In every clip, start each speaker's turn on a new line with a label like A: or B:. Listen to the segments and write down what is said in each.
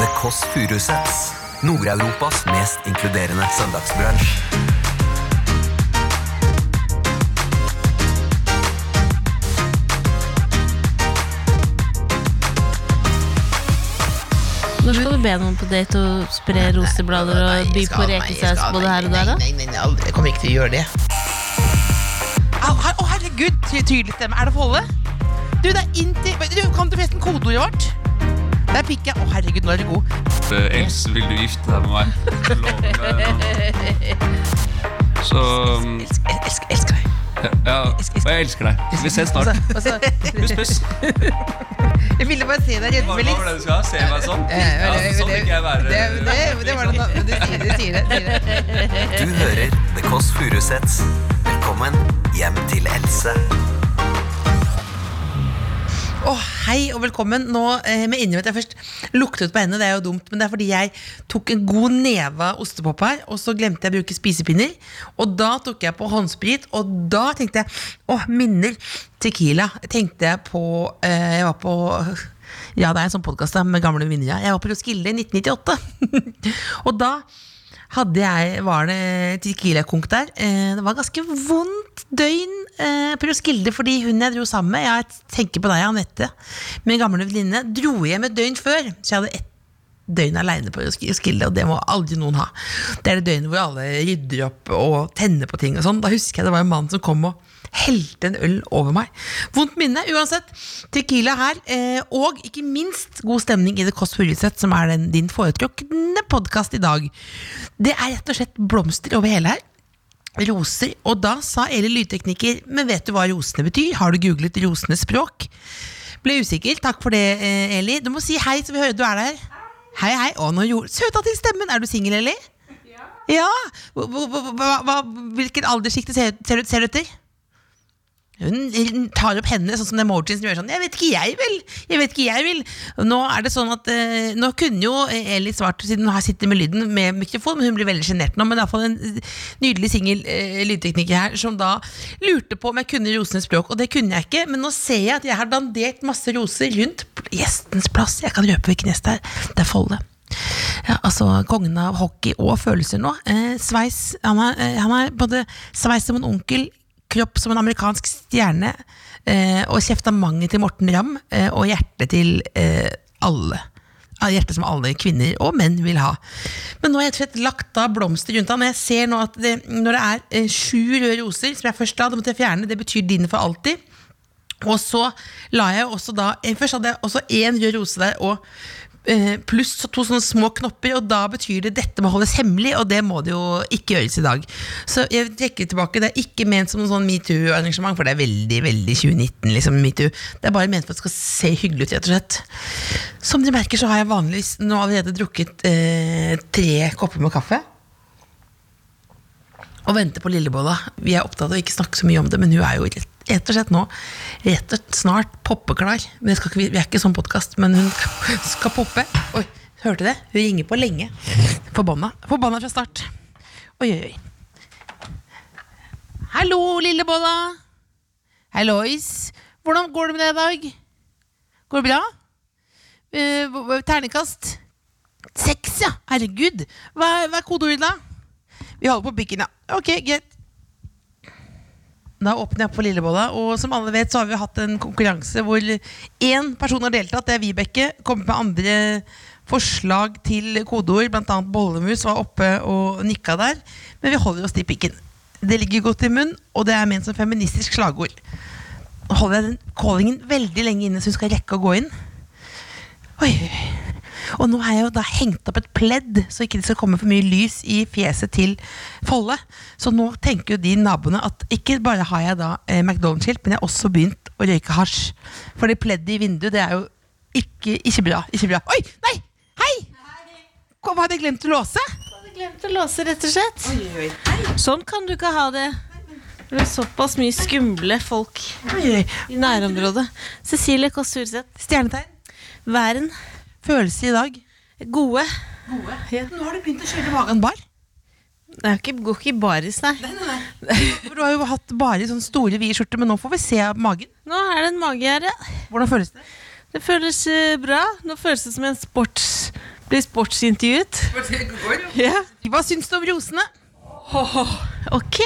A: The Kåss Furuseths. Nord-Europas mest inkluderende søndagsbransj.
B: Når skal du be noen på date og spre roseblader og by på rekesaus både her og der? da?
C: Nei, nei, nei, aldri. jeg kommer ikke til å gjøre det.
D: Au, her- Å, herregud, ty- tydelig stemme. Er det Folle? Du, det er inntil Vet Du, kan du forresten kodeordet vårt? Det er pikke. Å, herregud, nå er du god.
E: Eh, Els, vil du gifte deg med meg? Jeg lover deg. Så mm,
D: Elsker, el- elsker, elsker deg.
E: ja, og jeg elsker deg. Vi ses snart.
D: Altså,
E: Puss, puss.
D: jeg ville bare se deg
E: Hva hva
D: rødme
E: var
D: litt.
E: det du skal ha? Se meg sånn? Ja, sånn vil ikke jeg være.
D: Eh, Det, det, det var noe annet. Du sier det. Sier det, sier det.
A: Du hører The Kåss Furuseths. Velkommen hjem til Else.
D: Å, hei og velkommen. Nå eh, med innrømme at jeg først luktet på hendene. Det er jo dumt, men det er fordi jeg tok en god neve av ostepop her, og så glemte jeg å bruke spisepinner. Og da tok jeg på håndsprit, og da tenkte jeg Å, minner Tequila. Tenkte jeg på eh, Jeg var på Ja, det er en sånn podkast med gamle minner. Ja. Jeg var på Roskilde i 1998. og da hadde jeg, var det Tequila-konk der. Eh, det var ganske vondt døgn eh, på Roskilde, fordi hun jeg dro sammen med, jeg tenker på deg, Anette, min gamle venninne, dro hjem et døgn før. Så jeg hadde ett døgn aleine på Roskilde, og det må aldri noen ha. Det er det døgnet hvor alle rydder opp og tenner på ting og sånn. Da husker jeg det var en mann som kom og helte en øl over meg. Vondt minne. Uansett, Tequila her, eh, og ikke minst god stemning i The Kåss Furuseth, som er den, din foretrukne podkast i dag. Det er rett og slett blomster over hele her. Roser. Og da sa Eli lydtekniker, men vet du hva rosene betyr? Har du googlet rosenes språk? Ble usikker. Takk for det, eh, Eli. Du må si hei, så vi hører du er der. Hei, hei. Å, nå gjorde Søta til stemmen! Er du singel, Eli? Ja. Hva, hva- hva, hva, hvilken alderssjikt ser, ser, ser du etter? Hun tar opp hendene sånn som den emojien som gjør sånn 'Jeg vet ikke, jeg vil!' Jeg vet ikke, jeg vil Og Nå er det sånn at eh, Nå kunne jo Eli svart, siden hun her sitter med lyden med mikrofon, men hun blir veldig sjenert nå. Men det er iallfall en nydelig singel eh, lydtekniker her som da lurte på om jeg kunne rosenes språk. Og det kunne jeg ikke, men nå ser jeg at jeg har dandert masse roser rundt gjestens plass. Jeg kan røpe hvilken gjest det er. Det er Folle. Ja, altså kongen av hockey og følelser nå. Eh, sveis han er, eh, han er både sveis som en onkel, kropp som en amerikansk stjerne, eh, og kjeftamanget til Morten Ramm, eh, og hjerte til eh, alle. Ja, Hjerte som alle kvinner og menn vil ha. Men nå har jeg rett og slett lagt av blomster rundt han. og Jeg ser nå at det, når det er eh, sju røde roser, som jeg først la, det måtte jeg fjerne, det betyr din for alltid. Og så la jeg jo også da eh, Først hadde jeg også én rød rose der og eh, pluss to sånne små knopper, og da betyr det dette må holdes hemmelig, og det må det jo ikke gjøres i dag. Så jeg trekker tilbake. Det er ikke ment som noe sånn metoo-arrangement, for det er veldig veldig 2019. liksom metoo. Det er bare ment for at det skal se hyggelig ut, rett og slett. Som dere merker, så har jeg vanligvis nå allerede drukket eh, tre kopper med kaffe. Og venter på lillebolla. Vi er opptatt av å ikke snakke så mye om det, men hun er jo rett, rett og slett nå rett og snart poppeklar. Men det skal ikke, vi er ikke sånn podkast, men hun skal poppe. Oi, hørte det? Hun ringer på lenge. Forbanna. Forbanna fra start. Oi, oi, oi. Hallo, lillebolla. Hallois. Hvordan går det med deg i dag? Går det bra? Eh, hva- hva- ternekast? Seks, ja. Herregud. Hva, er- hva er kodeordet, da? Vi holder på pikken, ja. Ok, greit. Da åpner jeg opp for Lillebolla, og som alle vet så har vi hatt en konkurranse hvor én person har deltatt, det er Vibeke. Kommet med andre forslag til kodeord, bl.a. bollemus var oppe og nikka der. Men vi holder oss til pikken. Det ligger godt i munn, og det er ment som feministisk slagord. Nå holder jeg den callingen veldig lenge inne, så hun skal rekke å gå inn. Oi, oi, oi. Og nå har jeg jo da hengt opp et pledd, så ikke det skal komme for mye lys i fjeset til Folle. Så nå tenker jo de naboene at ikke bare har jeg da eh, McDonald's-skilt, men jeg har også begynt å røyke hasj. For det pleddet i vinduet, det er jo ikke, ikke bra. Ikke bra. Oi! Nei! Hei! Kom, hadde jeg glemt å låse?
B: Jeg glemte å låse, rett og slett. Sånn kan du ikke ha det. Det er såpass mye skumle folk
D: Oi, oi.
B: i nærområdet. Cecilie Kåss Furuseth.
D: Stjernetegn.
B: Væren.
D: Følelse i dag.
B: Gode.
D: Nå har du begynt å kjøre magen bar.
B: Det er jo ikke, går ikke i baris, nei.
D: For du har jo hatt bare sånne store, vide skjorter, men nå får vi se magen.
B: Nå er det en magegjerde.
D: Hvordan føles det?
B: Det føles eh, bra. Nå føles det som en sportsbluss. Blir sportsintervjuet. Ja.
D: Hva syns du om rosene?
B: Ok.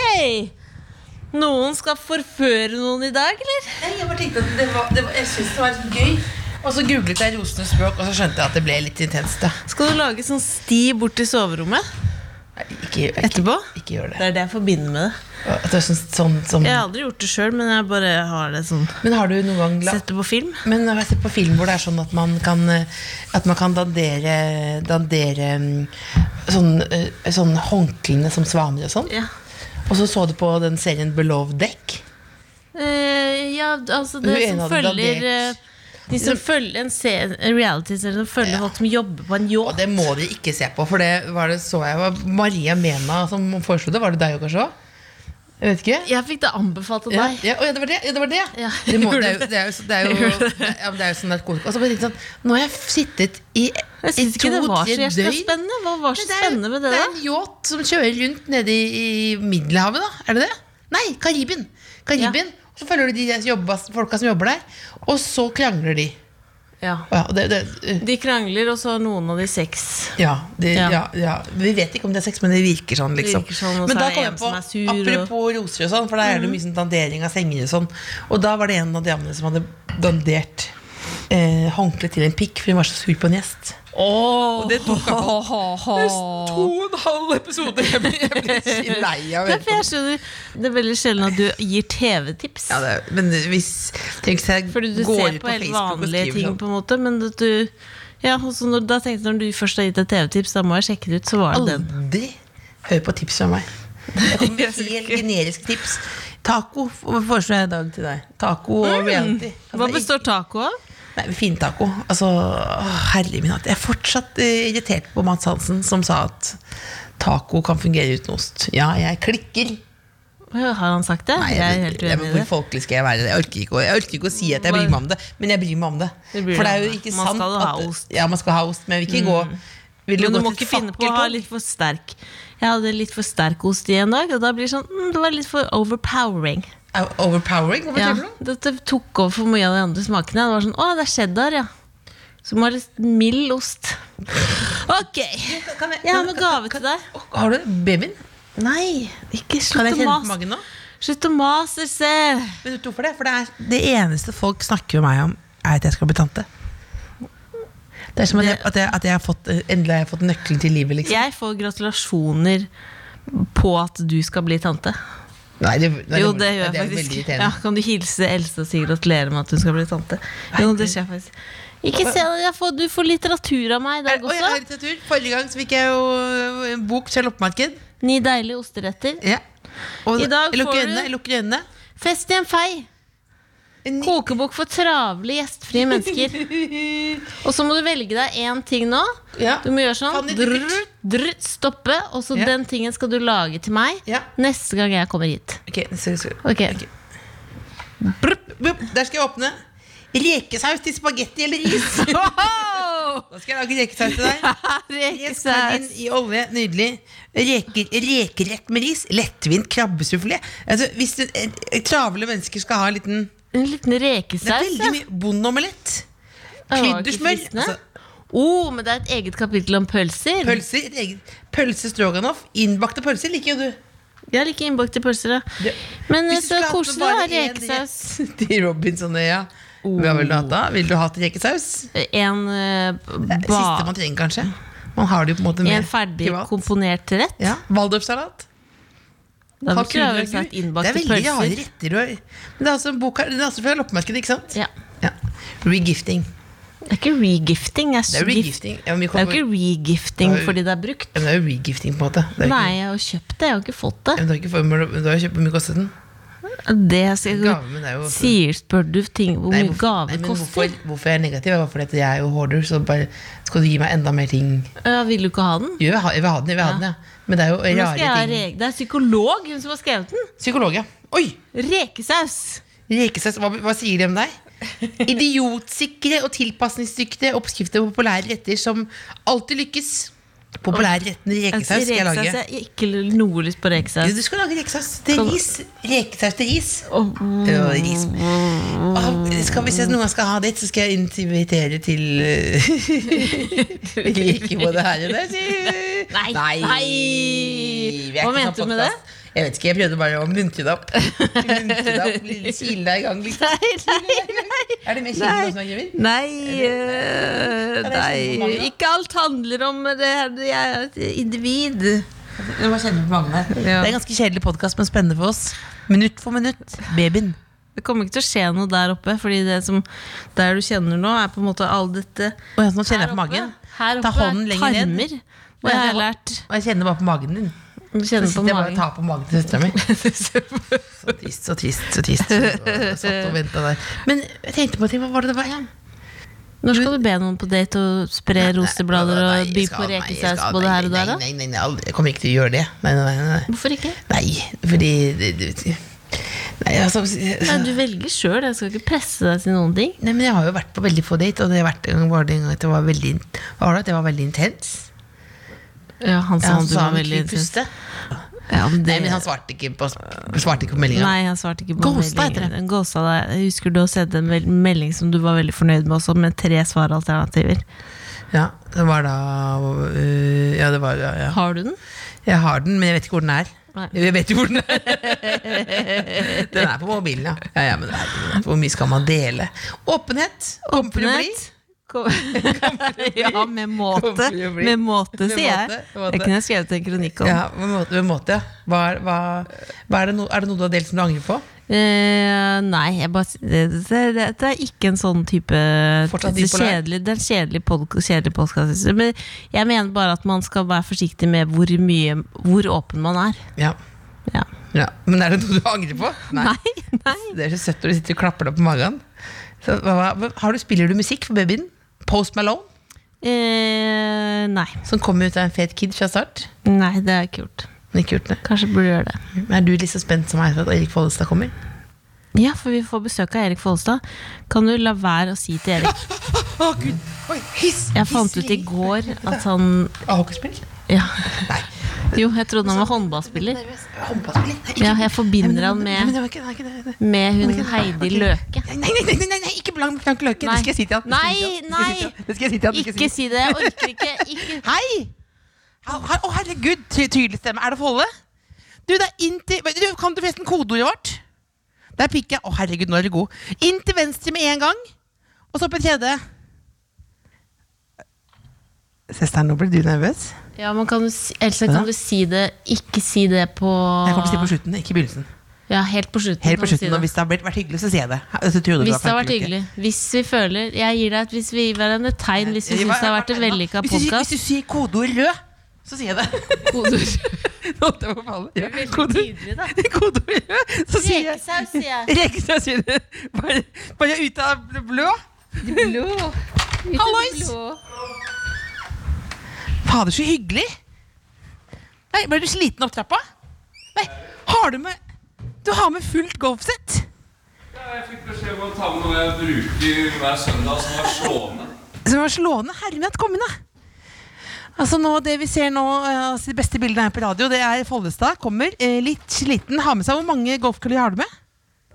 B: Noen skal forføre noen i dag, eller?
D: Nei, jeg bare tenkte at det var, det var, jeg synes det var litt gøy. Og så googlet jeg rosenes språk, og så skjønte jeg at det ble litt intenst. da
B: Skal du lage sånn sti bort til soverommet
D: Nei, ikke, ikke,
B: etterpå?
D: ikke gjør
B: Det
D: det.
B: er det jeg forbinder med det.
D: At det er sånn, sånn, sånn.
B: Jeg har aldri gjort det sjøl, men jeg bare har det sånn.
D: Men har du noen gang la,
B: Sett det på film.
D: Men jeg har sett på film hvor det er sånn at man kan eh, At man kan dandere, dandere mm, sånn, eh, sånn håndklene som svaner og sånn.
B: Ja.
D: Og så så du på den serien Below Deck.
B: Eh, ja, altså det
D: Hun ene
B: som
D: hadde
B: følger
D: dandert.
B: eh, De som følger en, se- en reality-serie som følger folk som jobber på en
D: Og
B: yacht.
D: det må dere ikke se på, for det var det så jeg var Maria Mena som foreslo det. Var det deg òg, kanskje? også? Jeg vet ikke.
B: Jeg fikk det anbefalt av
D: Ja,
B: deg.
D: ja, å, ja, det var det! Ja, det, var det.
B: Ja,
D: det, må,
B: gjorde
D: det, er jo, det er jo, det er jo, ja, men det er jo sånn narkotika. Og så bare tenkte jeg sånn, Nå har jeg sittet i,
B: Jeg
D: i
B: syns ikke det var så
D: to-tre
B: jævla
D: døgn
B: spennende. Hva var så
D: Men det er jo-
B: spennende med det,
D: Det er
B: da?
D: en yacht som kjører rundt nede i, i Middelhavet, da. Er det det? Nei, Karibien. Karibien. Og så følger du de der som jobber, folka som jobber der, og så krangler de.
B: Ja.
D: Ja, og det, det, uh,
B: De krangler, og så har noen av de sex.
D: ja, det,
B: Ja.
D: ja. Ja, Vi vet ikke om det er sex, men det virker sånn. liksom
B: virker sånn, og så
D: Men
B: er
D: da
B: det
D: kom
B: en
D: jeg på,
B: som er sur, og- Mm.
D: apropos roser og sånn, for der er det mye sånn dandering av senger og sånn. Og da var det en av damene som hadde dandert eh, håndkle til en pikk, for hun var så sur på en gjest.
B: Oh,
D: det tok jeg på. To
B: på.
D: og en halv episode! Jeg ble, jeg ble så lei av å høre på
B: Derfor jeg skjønner Det er veldig sjelden at du gir TV-tips.
D: Ja, det, er- men hvis tenk hvis jeg
B: Fordi du
D: går
B: ser
D: ut
B: på helt
D: Facebook og
B: vanlige
D: skriver
B: ting,
D: sånn,
B: på en måte. Men at du ja, og så når, da tenkte jeg når du først har gitt et TV-tips, da må jeg sjekke det ut. Så var det den.
D: Aldri hør på tips fra meg. Jeg kommer med helt generiske tips. Taco f- foreslår jeg i dag til deg. Taco og reality. Altså,
B: Mm. Hva består taco av?
D: ikke- Nei, Fintaco. Altså, å, herlig min hatt. Jeg er fortsatt eh, irritert på Mads Hansen, som sa at taco kan fungere uten ost. Ja, jeg klikker.
B: Har han sagt det? jeg er helt uenig
D: jeg-
B: i
D: Hvor
B: det.
D: folkelig skal jeg være? Jeg orker, ikke, å- jeg orker ikke å si at jeg bryr meg om det, men jeg bryr meg om det.
B: Du bryr
D: For det
B: deg
D: er
B: om
D: jo
B: det.
D: ikke
B: Man
D: sant
B: skal ha
D: at-
B: ost. Mm.
D: Ja, man skal ha ost, men vi vil ikke gå vil
B: Men du
D: gå
B: må
D: til
B: ikke finne på å ha
D: fakkeltog?
B: litt for sterk. Jeg hadde litt for sterk ost i en dag, og da blir det sånn mm, Det var litt for overpowering.
D: Er- Overpowering? Hva
B: Ja,
D: betyr det?
B: dette tok over for mye av de andre smakene. Det var sånn Å, det er cheddar, ja. Så må ha litt mild ost. Ok.
D: Kan jeg-
B: Jeg har med gave til deg.
D: Å, Har du babyen?
B: Nei, ikke
D: Kan
B: slutt
D: jeg
B: å
D: kjenne på
B: mase.
D: magen nå?
B: Slutt å mase, Else.
D: Vet du hvorfor det? For det er det eneste folk snakker med meg om, er at jeg skal bli tante. Det er som at jeg, at jeg, at jeg har fått, endelig har jeg fått nøkkelen til livet, liksom.
B: Jeg får gratulasjoner på at du skal bli tante.
D: Nei, det, nei,
B: Jo, det gjør jeg
D: det er veldig
B: faktisk.
D: irriterende.
B: Ja, kan du hilse Else og si gratulerer med at du skal bli tante? Jo, det skjer faktisk. Ikke se det, jeg får, du får litteratur av meg i
D: Er-
B: dag
D: Oi, jeg har
B: også.
D: litteratur. Forrige gang så fikk jeg jo eh, en bok fra loppemarked.
B: Ni deilige osteretter.
D: Ja. Og
B: I dag
D: jeg lukker
B: får du-
D: øynene. Jeg lukker øynene.
B: Fest i en fei.
D: En ny-
B: Kokebok for travle, gjestfrie mennesker. Og så må du velge deg én ting nå.
D: Ja.
B: Du må gjøre sånn.
D: Fanny, du-
B: Drr, drr, stoppe. Og så
D: Ja.
B: den tingen skal du lage til meg
D: Ja.
B: neste gang jeg kommer hit.
D: Ok, sorry, sorry.
B: Ok.
D: Brup, brup. Der skal jeg åpne. Rekesaus til spagetti eller ris. Nå skal jeg lage rekesaus til deg. Res
B: Rekesaus.
D: sardin i olje, nydelig. Reker, rekerett med ris. Lettvint krabbesufflé. Altså, hvis du, eh, travle mennesker skal ha en liten
B: En liten
D: Det er
B: rekesaus.
D: veldig
B: ja.
D: mye bondeomelett.
B: Det var ikke
D: Kryddersmør.
B: fristende.
D: Altså,
B: oh, men det er et eget kapittel om pølser.
D: pølser. Et eget pølse stroganoff. Innbakte pølser liker jo du.
B: Jeg liker innbakte pølser, ja.
D: Ja.
B: Men
D: Hvis du
B: så
D: skulle hatt med
B: koselig å
D: bare
B: ha
D: en
B: rekesaus.
D: rett Til Robinsonøya.
B: Oh.
D: Hva vil du ha da? Vil du ha til rekesaus?
B: En, eh,
D: Det er det
B: ba,
D: Siste man trenger, kanskje. Man har det jo på en måte mer
B: en ferdig
D: privat.
B: komponert rett.
D: Ja, Waldorfsalat.
B: Da
D: Kalkun
B: skulle jeg
D: og
B: vel sagt
D: agurk.
B: innbakte
D: Det er veldig rare
B: pølser.
D: retter. og- Men det er også en bok her, den er også fra loppemarkedet, ikke sant?
B: Ja.
D: Ja. Regifting.
B: Det er ikke regifting. Det er,
D: Det er
B: gift-
D: regifting. Ja, men vi
B: Det er
D: kommer-
B: jo ikke regifting
D: Det er jo-
B: fordi det er brukt.
D: Ja, men det er jo regifting, på en måte. Det er jo
B: Nei,
D: Ikke,
B: jeg har kjøpt det. Jeg har ikke fått det.
D: Ja, men du har ikke formel, du har jo kjøpt hvor mye kostet den?
B: Det jeg skal,
D: Gave, men det er jo
B: sier, spør du ting hvor
D: Nei,
B: mye gave
D: hvorfor- nei, men
B: koster?
D: Hvorfor, hvorfor jeg er negativ, er bare fordi at jeg er jo hoarder, så bare skal du gi meg enda mer ting.
B: Ja, vil du ikke ha den?
D: Jo, jeg vil ha jeg vil ha den, jeg vil ha den, ja. Men det er jo
B: Nå skal jeg ha
D: rare ting.
B: re- det er psykolog hun som har skrevet den.
D: Psykolog, ja. Oi!
B: Rekesaus.
D: Rekesaus, hva, hva sier de om deg? Idiotsikre og tilpasningsdyktige oppskrifter på populære retter som alltid lykkes. Populær retten rekesaus skal jeg
B: Rekesaus, jeg
D: lage.
B: har ikke noe lyst på
D: Jo,
B: rekesaus.
D: Du skal lage rekesaus til
B: Kan-
D: ris. Rekesaus til ris.
B: Åh,
D: Ja, ris. Åh, skal, hvis jeg noen gang skal ha det, så skal jeg invitere til uh, Rike både her og der. sier-
B: Nei,
D: Nei.
B: nei.
D: vi er
B: Hva
D: ikke
B: mente
D: sånn
B: du med det?
D: podcast. Jeg vet ikke, jeg prøvde bare å muntre det opp. Muntre det opp, lille Kile deg i gang, liksom.
B: Nei, nei, nei.
D: Er det mer kile
B: Nei.
D: nå som er Kevin?
B: Nei, eh,
D: Kan jeg kjenne på
B: nei.
D: magen?
B: Ikke alt handler om det. her, Jeg er et individ.
D: Det var kjenne på mange der.
B: Ja.
D: Det er en ganske kjedelig podkast, men spennende for oss. Minutt for minutt. Babyen.
B: Det kommer ikke til å skje noe der oppe, Fordi det som der du kjenner nå, er på en måte all dette
D: Og jeg, nå kjenner
B: her
D: jeg på magen.
B: Her
D: Ta
B: oppe er
D: hånden lenger ned.
B: tarmer. Og jeg har lært
D: Og jeg kjenner bare på magen din.
B: å kjenne på
D: Så sitter jeg bare og
B: magen.
D: tar på magen til søstera mi. Så trist, så trist, så trist. Jeg Satt og ventet der. Men jeg tenkte på en ting, hva var det det var igjen?
B: Når skal du be noen på date og spre roseblader
D: Nei,
B: og
D: jeg
B: by
D: skal-
B: på
D: nei, jeg
B: rekesaus
D: skal-
B: både
D: nei,
B: her og
D: nei,
B: der? da?
C: Nei, nei,
D: Nei,
C: nei.
D: aldri- Jeg kommer ikke til å gjøre det. Nei, nei, nei. nei.
B: Hvorfor ikke?
D: nei fordi det, det, nei, altså,
B: Nei, du velger sjøl. Jeg skal ikke presse deg til noen ting.
D: nei, men jeg har jo vært på veldig få date, og det har vært en gang var det en gang at det var veldig, hva var det, at det var veldig intens.
B: Ja, han sa
D: Ja,
B: han du var
D: han
B: veldig
D: kunne puste.
B: Ja, men
D: Nei,
B: det,
D: men han svarte ikke på, svarte ikke på meldinga.
B: Nei, han svarte ikke på
D: Ghosta liksom. heter det.
B: meldingen. Ghosta deg. Jeg Husker du å sende en vel- melding som du var veldig fornøyd med også, med tre svaralternativer?
D: Ja, det var da øh, Ja, det var ja, ja.
B: Har du den?
D: Jeg har den, men jeg vet ikke hvor den er.
B: Nei.
D: Jeg vet jo hvor den er. den er på mobilen, ja. ja, ja men herregud, hvor mye skal man dele? Åpenhet. Kommer til å bli.
B: Nett? Kom- ja, med måte.
D: Kommer til å bli.
B: Med måte,
D: Med
B: sier jeg.
D: måte, med måte.
B: Det kunne jeg skrevet en kronikk om.
D: Ja, på en måte, på en måte ja. Hva er, hva, hva er, det no, er det noe du har delt som du angrer på?
B: Eh, nei, jeg bare, det, det, det, det er ikke en sånn type
D: Fortsatt
B: det, er
D: bipolar.
B: kjedelig, det er en kjedelig, pod, kjedelig podcast. Men jeg mener bare at man skal være forsiktig med hvor, mye, hvor åpen man er.
D: Ja.
B: Ja.
D: ja. Men er det noe du angrer på?
B: Nei, nei.
D: Det er så søtt når du sitter og klapper deg på magen. Så, hva, hva, har du, spiller du musikk for babyen? Post Malone,
B: Eh, nei.
D: som kom ut av en fet kid fra start.
B: Nei, det har jeg ikke gjort.
D: Men ikke gjort det.
B: Kanskje burde gjøre det.
D: Men Er du like så spent som meg for at Erik Follestad kommer?
B: Ja, for vi får besøk av Erik Follestad. Kan du la være å si til Erik
D: Å, gud! Oi, hiss!
B: Jeg fant ut i går at han
D: Hockeyspill?
B: ja. Jo, jeg trodde han var håndballspiller.
D: Håndballspiller? Nei,
B: Ja, jeg forbinder han
D: Nei, men
B: med,
D: det var ikke, det var ikke det. det-
B: med hun Heidi Løke.
D: Nei, nei, nei, nei, nei, nei, ikke blank, blank løke!
B: Nei.
D: Det skal jeg si til han.
B: Nei, nei.
D: Det skal jeg si til han. Det skal jeg si til han. Det skal
B: Ikke si det. Jeg orker
D: jeg si til han.
B: ikke. ikke.
D: Hei! Å, her- å, herregud, ty tydelig stemme. Er det Folle? Du, det er inn til du, Kan du forresten kodeordet vårt? Der fikk jeg Å, herregud, nå er du god. Inn til venstre med en gang, og så på tredje. Søsteren, nå blir du nervøs.
B: Ja, men kan du, si- Else, kan du si det Ikke si det på
D: Jeg kommer til å si på slutten, ikke i begynnelsen.
B: Ja, helt på slutten.
D: Helt på
B: kan du Ah. si
D: slutten, og
B: det.
D: Hvis det har vært, vært hyggelig, så sier jeg det. Ha- så tror du
B: Hvis det har
D: flink
B: vært
D: eller ikke.
B: hyggelig. Hvis vi føler Jeg gir deg et hvis vi gir hverandre et tegn hvis vi
D: Jeg-
B: syns det har vært en
D: jeg-
B: vellykka
D: hvis du sier-
B: podkast.
D: Hvis du sier kodeord rød, så sier jeg det. Nå, det var faen. Ja. Kodeord kodeord rød, så sier jeg
B: Rekesaus, sier jeg.
D: Rekesaus sier det. Bare, bare ute av det blå. Hallois! Fader, så hyggelig. Nei, Ble du sliten opp trappa? Nei, har du med Du har med fullt golfsett?
E: Jeg fikk beskjed om å ta med noe jeg bruker hver søndag som var slående.
D: Som var slående. Herre min, at kom inn, da! Altså nå, Det vi ser nå, eh, altså, de beste bildene her på radio, det er Follestad. Kommer eh, litt sliten. Har med seg Hvor mange golfkuller har du med?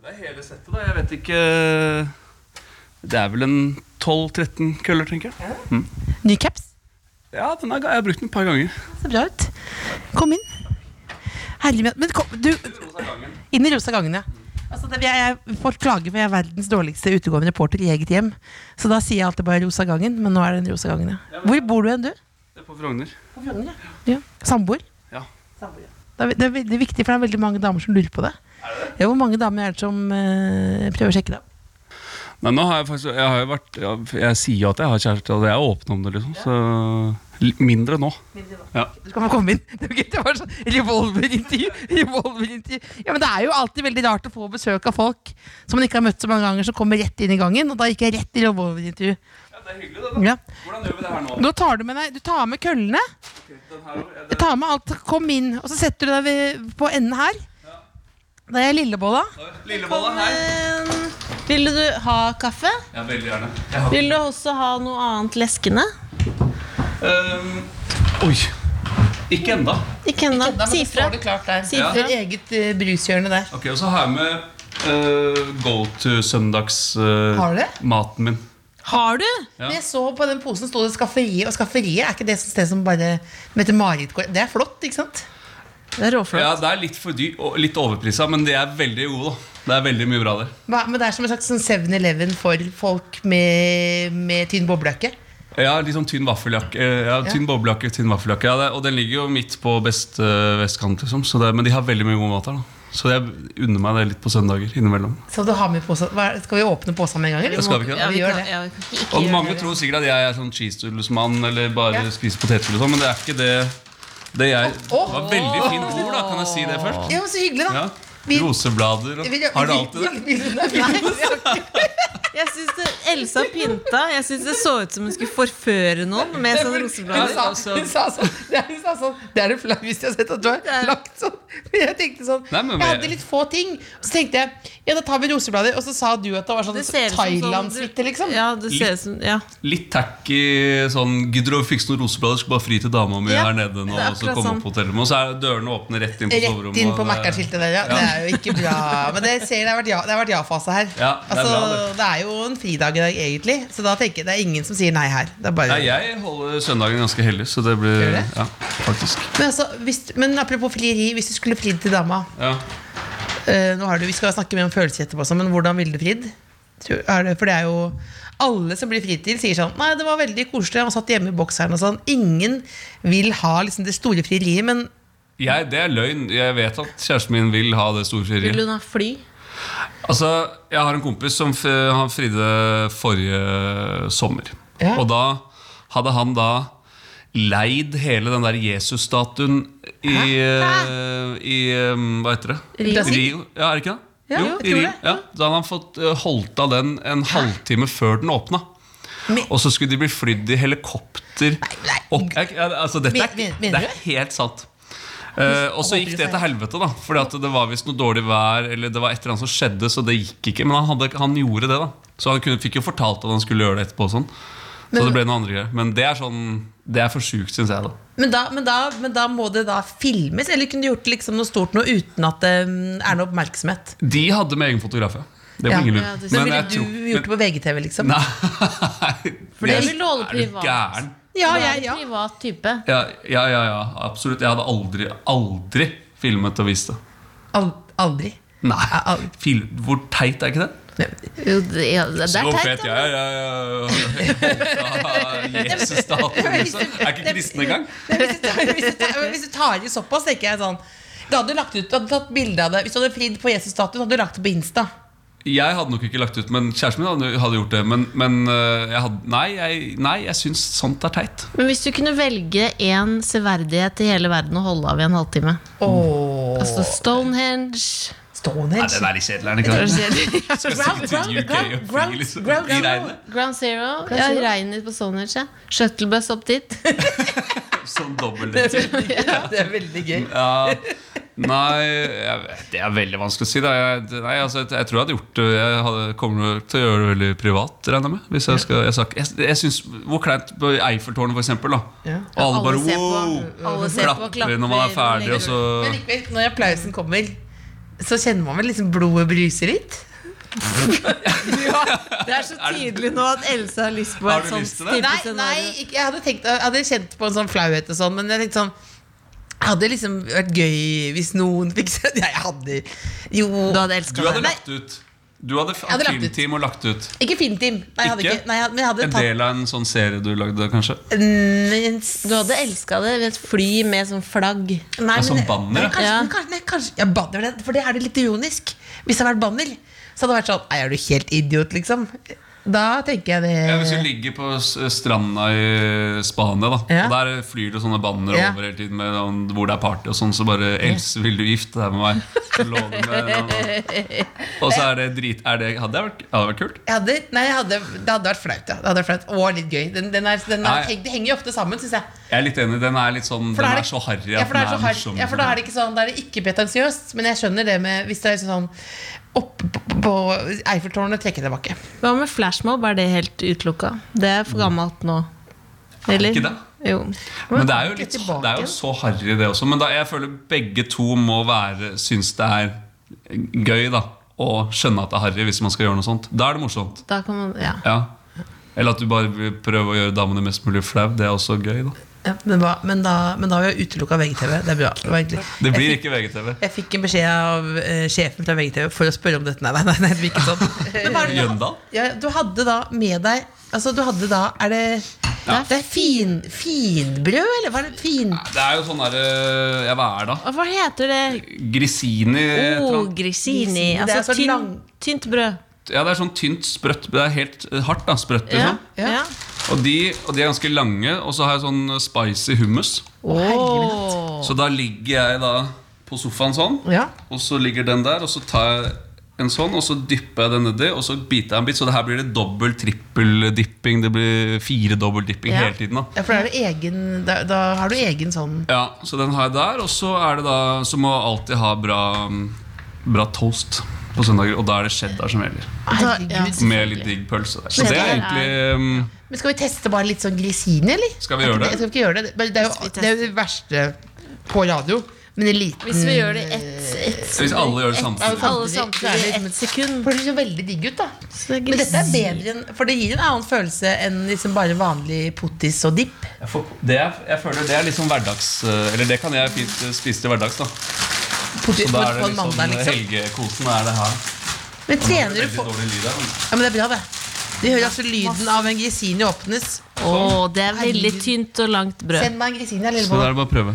E: Det er hele settet, da. Jeg vet ikke Det er vel en 12-13 køller, tenker jeg. Mm.
D: Ny caps?
E: Ja, den er, ga- jeg har brukt den et par ganger.
D: Ser bra ut. Kom inn. Herre min, men kom, du Inn i rosa gangen, ja. Altså, det, jeg, jeg får klage, for jeg er verdens dårligste utegående reporter i eget hjem. Så da sier jeg alltid bare rosa gangen, men nå er det den rosa gangen, ja. Hvor bor du hen, du?
E: Det er på Frogner.
D: Ja. Samboer?
E: Ja.
D: Det er, det er veldig viktig, for det er veldig mange damer som lurer på det. Ja, hvor mange damer er det som eh, prøver å sjekke deg?
E: Nei, nå har jeg faktisk Jeg har jo vært Jeg, jeg sier jo at jeg har kjæreste, og jeg er åpen om det, liksom. Så li- mindre nå. Ja.
D: Du kan få komme inn. Det var ikke- det var sånn revolverintervju. revolverintervju. Ja, men det er jo alltid veldig rart å få besøk av folk som man ikke har møtt så mange ganger, som kommer rett inn i gangen. Og da gikk jeg rett i revolverintervju.
E: ja, det er hyggelig, det.
D: Ja.
E: Hvordan gjør vi det her nå?
D: Nå tar du med deg Du tar med køllene.
E: Den her, er
D: Du tar med alt. Kom inn. Og så setter du deg ved, på enden her. Da er jeg lillebolla.
E: det- Lillebolla her.
B: Ville du ha kaffe?
E: Ja, veldig gjerne. Jeg har
B: Vil du også ha noe annet leskende?
E: Ehm, Oi! Ikke enda.
B: Ikke ennå.
D: Nei, men
B: Si
D: da
B: ifra.
D: står det klart der.
B: Si
E: ifra.
D: Det er Eget eh, brushjørne der.
E: Ok, Og så har jeg med eh, go to
D: Har du det?
E: søndagsmaten min.
B: Har du?
E: Ja.
D: Men jeg så på den posen stod det skafferiet, og skafferiet er ikke det sted som bare Mette-Marit går Det er flott, ikke sant?
B: Det er råflott.
E: Ja, Det er litt for dyr og litt overprisa, men det er veldig gode. da Det er veldig mye bra der.
D: Hva- Men det er som en slags sånn 7-Eleven for folk med, med tynn boblejakke.
E: Ja, litt sånn tynn vaffeljakke. eh, Ja, tynn boblejakke, tynn vaffeljakke ja, det, Og den ligger jo midt på best eh, vestkant, liksom. Så det, men de har veldig mye god mat her. da Så jeg unner meg det litt på søndager innimellom.
D: Så du har med pose. Hva, er- skal vi åpne posen med en gang?
E: Ja,
D: Eller?
E: skal vi ikke det?
B: Ja,
D: vi gjør
B: kan-
D: det.
B: ja, vi kan ikke- ikke
E: Og
B: gjøre
E: mange
B: det.
E: tror sikkert at jeg er sånn cheesedoodles-mann eller bare
D: Ja.
E: spiser potetgull og sånn, men det er ikke det. Det jeg det
D: Åh!
E: var veldig fint ord, da. Kan jeg si det først?
D: Ja, men Så hyggelig, da.
E: Ja.
D: Vi-
E: Roseblader og
D: Vi-
E: Har du alltid det?
D: vi- vi- vi-
B: Jeg synes det, Elsa pynta. Jeg syns det så ut som hun skulle forføre noen med sånn
D: Hun
B: roseblader.
D: sa, hun sa sånn Det er, hun sa sånn, det er det flaueste jeg har sett at du har lagt sånn. Men jeg tenkte sånn
E: Nei, men
D: Jeg
E: vi-
D: hadde litt få ting. Og så tenkte jeg ja, da tar vi roseblader. Og så sa du at det var sånn
B: Det ser ut som
D: thailandssuite, liksom.
B: Ja, det ser ut som Ja.
E: Litt tacky sånn Gidder du å fikse noen roseblader, skal bare fri til dama mi
B: Ja,
E: her nede
B: det
E: nå.
B: er
E: Og så
B: akkurat
E: komme
B: sånn.
E: opp på hotellet med, og så er dørene åpne rett inn på soverommet.
D: Rett inn
E: og
D: på
E: det-
D: Mækkern-skiltet der, ja. Det er jo ikke bra. Men det ser jeg det har vært ja- det har vært ja-fase her.
E: Ja, det er
D: altså,
E: bra,
D: det er jo en fridag i dag, egentlig. Så da tenker jeg det er ingen som sier nei her. Det er bare...
E: Nei, jeg holder søndagen ganske hellig, så det blir
D: Gjør det?
E: Ja, faktisk.
D: men, altså, hvis, men apropos frieri, hvis du skulle fridd til dama
E: Ja.
D: Eh, nå har du, Vi skal snakke mer om følelser etterpå, også, men hvordan ville du fridd? Tror- er det- For det er jo alle som blir fridd til, sier sånn Nei, det var veldig koselig, han satt hjemme i bokseren og sånn. Ingen vil ha liksom, det store frieriet, men
E: Jeg, det er løgn. Jeg vet at kjæresten min vil ha det storfrieriet.
B: Vil hun ha fly?
E: Altså, Jeg har en kompis som f han fridde forrige sommer.
D: Ja.
E: Og da hadde han da leid hele den der Jesus-statuen i, eh, i eh, Hva heter det?
B: Rio.
E: Rio. Ja, er det ikke det?
D: Ja, jeg
E: jo, i
D: tror
E: Rio.
D: det.
E: Ja. Da hadde han fått eh, holdt av den en halvtime før den åpna.
D: Men-
E: Og så skulle de bli flydd i helikopter
D: nei.
E: opp ja, altså, Dette er,
D: Men- men- mener
E: det er helt sant. Eh, og så gikk det til helvete, da. Fordi at det var visst noe dårlig vær, eller det var et eller annet som skjedde, så det gikk ikke. Men han, hadde, han gjorde det, da. Så han kunne, fikk jo fortalt at han skulle gjøre det etterpå. og Sånn. Så det ble noen andre greier. Men det er sånn Det er for sjukt, syns jeg. da
D: men da, men, da, men da må det da filmes? Eller kunne du gjort liksom, noe stort noe uten at det mm, er noe oppmerksomhet?
E: De hadde med egen fotograf, ja. Det var
D: Ja.
E: ingen lur.
B: Ja, det-
D: Men
E: Men
D: ville
E: jeg
D: du
E: tror-
D: gjort det på VGTV, liksom?
E: Nei.
B: det
E: Jeg-
B: vil du holde
E: Er du
B: privat.
E: gæren?
D: Ja,
B: Du er
D: ja,
B: en
D: ja.
B: Privat type.
E: Ja, ja, ja, ja. Absolutt. Jeg hadde aldri, aldri filmet og vist det.
D: Al aldri.
E: Nei.
D: al-
E: Fil hvor teit er ikke det?
B: Jo, det, ja, det er
E: Så
B: teit.
E: fet jeg er. Jeg er Jesus-staten. liksom. Jeg er ikke kristen engang.
D: Nei, Hvis du tar- hvis du tar- hvis du tar i såpass, tenker jeg sånn Da hadde du lagt ut, du hadde tatt bilde av det Hvis du hadde fridd på Jesus-statuen, hadde du lagt det på Insta.
E: Jeg hadde nok ikke lagt ut, men kjæresten min hadde- hadde gjort det. Men, men øh, jeg hadde, nei, jeg, nei, jeg syns sånt er teit.
B: Men hvis du kunne velge én severdighet i hele verden å holde av i en halvtime
D: Åh,
B: Altså Stonehenge
E: Nei,
D: Stonehenge.
E: den er litt kjedelig, er den ikke? det? Skal
D: Ground-
E: stikke til
D: ground-
E: UK og
D: ground-
E: fly liksom,
D: ground-
E: i regnet.
B: Ground Zero.
D: Ground
B: ja,
D: Zero.
B: Regnet på Stonehenge. Ja. Shuttlebuss opp dit.
E: Sånn dobbelt.
D: Det er veldig gøy.
E: Ja. Nei, jeg, vet- det er veldig vanskelig å si. Da. Jeg, det- nei, altså, jeg, jeg tror jeg hadde gjort det Jeg hadde, kommer til å gjøre det veldig privat, regner jeg med. Hvis jeg skal, jeg, sak- jeg, jeg synes, Hvor kleint på Eiffeltårnet, for eksempel. Da.
D: Ja.
E: Og alle bare
B: ser
E: wow!
B: på, alle ser på,
E: Klapper når man er ferdig, og så
D: Men likevel, når applausen kommer, så kjenner man vel liksom blodet bruser litt?
B: Det er så tydelig nå at Elsa har lyst på
E: Har
B: et
E: du
B: sånt
E: lyst til det?
B: type
D: Nei, nei
B: scenario.
D: ikke- jeg hadde, tenkt, jeg hadde kjent på en sånn flauhet og sånn, men jeg tenkte sånn det hadde liksom vært gøy hvis noen fikk se Nei, jeg hadde Jo
B: Du hadde
E: Du
B: elska
E: hadde
B: det.
E: lagt ut. Du hadde f-
D: hadde lagt ut.
E: filmteam og lagt ut.
D: Ikke filmteam. Nei, jeg hadde
E: Ikke?
D: ikke. Nei, jeg hadde, men jeg hadde
E: En
D: tatt
E: del av en sånn serie du lagde, kanskje?
D: Men,
B: Du hadde elska det ved et fly med sånn flagg.
D: nei,
E: Ja, som
D: men-
E: sånn banner,
D: men
E: ja.
D: Kanskje,
B: Ja.
D: men kanskje, nei, kanskje, ja, banner det, for det er det litt ironisk. Hvis det hadde vært banner, så hadde det vært sånn Nei, er du helt idiot, liksom? Da tenker jeg det
E: Ja, hvis du ligger på s- stranda i Spania, da
D: Eh. Ja.
E: og der flyr det sånne banner
D: Ja.
E: over hele tiden med om hvor det er party, og sånn, så bare 'Else, vil du gifte deg med meg?' Så lå det med en annen. Og så er det drit er det, Hadde det vært, hadde det vært kult?
D: jeg hadde, nei, jeg hadde, det hadde vært flaut, ja. Det hadde vært flaut Og litt gøy. Den, den er, den
E: Nei.
D: er, det henger jo ofte sammen, syns jeg.
E: Jeg er litt enig. Den er litt sånn
D: For da
E: Den
D: det-
E: er så harry
D: ja,
E: at
D: for da
E: den
D: er det så
E: er liksom
D: harry-
E: morsom.
D: ja, for da er det ikke sånn Da er det ikke pretensiøst. Men jeg skjønner det med hvis det er sånn oppe på, på Eiffeltårnet trekker jeg tilbake.
B: Hva med flashmob? Er det helt utelukka? Det er for gammelt nå. Eller?
E: ikke det?
B: Jo.
E: Men det er jo,
D: Ikke
E: litt,
D: tilbake
E: det er jo så harry, det også. Men da, jeg føler begge to må være synes det er gøy da å skjønne at det er harry hvis man skal gjøre noe sånt. Da er det morsomt.
B: Da kan man, ja.
E: Ja. Eller at du bare vil prøve å gjøre damene mest mulig flau. Det er også gøy, da.
D: Ja, men, hva, men, da, men da har vi utelukka VGTV. Det er bra. Det var egentlig- Jeg
E: Det blir
D: fikk-
E: ikke VGTV.
D: Jeg fikk en beskjed av eh, sjefen fra VGTV for å spørre om dette. Nei, nei, nei, nei det blir ikke sånn. Men hva er det da?
E: Jøndal?
D: Ja, du hadde da med deg Altså, du hadde da Er det
E: Ja.
D: Det er fin, finbrød, eller hva er det? Fin...
E: Det er jo sånn derre Ja, hva er det, da?
B: Og Hva heter det?
E: Grisini eh, et eller
B: Oh,
E: annet.
B: grisini.
D: Det er
B: Altså
D: så
B: tynn-
D: lang-
B: tynt brød.
E: Ja, det er sånn tynt, sprøtt Det er helt eh, hardt, da. Sprøtt,
B: Ja.
E: liksom.
D: Ja.
B: ja.
E: Og, de, og de er ganske lange. Og så har jeg sånn spicy hummus.
B: Åh.
E: Så da ligger jeg da på sofaen sånn,
D: Ja.
E: og så ligger den der, og så tar jeg en sånn, og så dypper jeg den nedi, og så biter jeg en bit. Så det her blir det dobbel, trippel dipping, det blir fire dobbel dipping
B: Ja.
E: hele tiden. da
D: Ja, for da, er det egen, da, da har du egen sånn
E: ja, Så den har jeg der, og så er det da Så må jeg alltid ha bra, bra toast på søndager, og da er det cheddar som gjelder.
D: Herregud.
B: ja.
E: Med litt digg pølse der. Så det er
B: Cheddar
E: egentlig um,
D: Men skal vi teste bare litt sånn grisini, eller?
E: Skal vi gjøre det?
D: Jeg skal ikke gjøre det. Men Det er, jo, det er jo det verste på radio. Men en liten
B: Hvis vi gjør det i ett, ett
E: Hvis alle gjør det samtidig.
B: Alle samtidig i ett sekund.
D: For det ser veldig digg ut, da.
B: Så det er
D: Men dette er
B: gris-
D: bedre enn For det gir en annen følelse enn liksom bare vanlig pottis og dipp.
E: Jeg, får, det er, jeg føler det er liksom hverdags Eller det kan jeg fint eh, spise til hverdags, da.
D: Pottis
E: Så
D: på
E: da er det
D: en
E: liksom eh,
D: mandag, liksom.
E: helgekosen er det her.
D: Men trener du
E: Veldig
D: på
E: dårlig lyd her. men-
D: Ja, men det er bra, det. Vi hører altså lyden av en grisini åpnes.
B: Åh, det er veldig
D: Herregud.
B: tynt og langt brød.
D: Send meg en grisini, jeg
E: Så da er
D: lurer
E: det bare å prøve.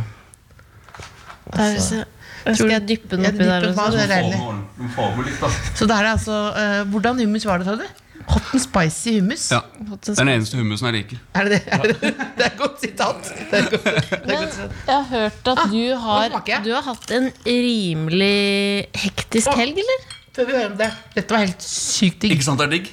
B: Der, så, skal Altså. jeg dyppe den
D: Jeg
B: oppi der?
D: dypper
B: Også?
D: den, det er
E: Du
D: deilig.
E: får med- du får med litt, da.
D: på. Så da er det altså eh, Hvordan hummus var det, sa du? Hot and spicy hummus?
E: Ja. Det er den eneste hummusen jeg liker.
D: Er det det? Er det, det er et godt sitat. Det er et godt, det er et godt sitat.
B: Jeg har hørt at du
D: nå
B: har,
D: smaker jeg.
B: du har hatt en rimelig hektisk helg, eller?
D: Før vi hører om det. Dette var helt sykt digg.
E: Ikke sant, det er digg?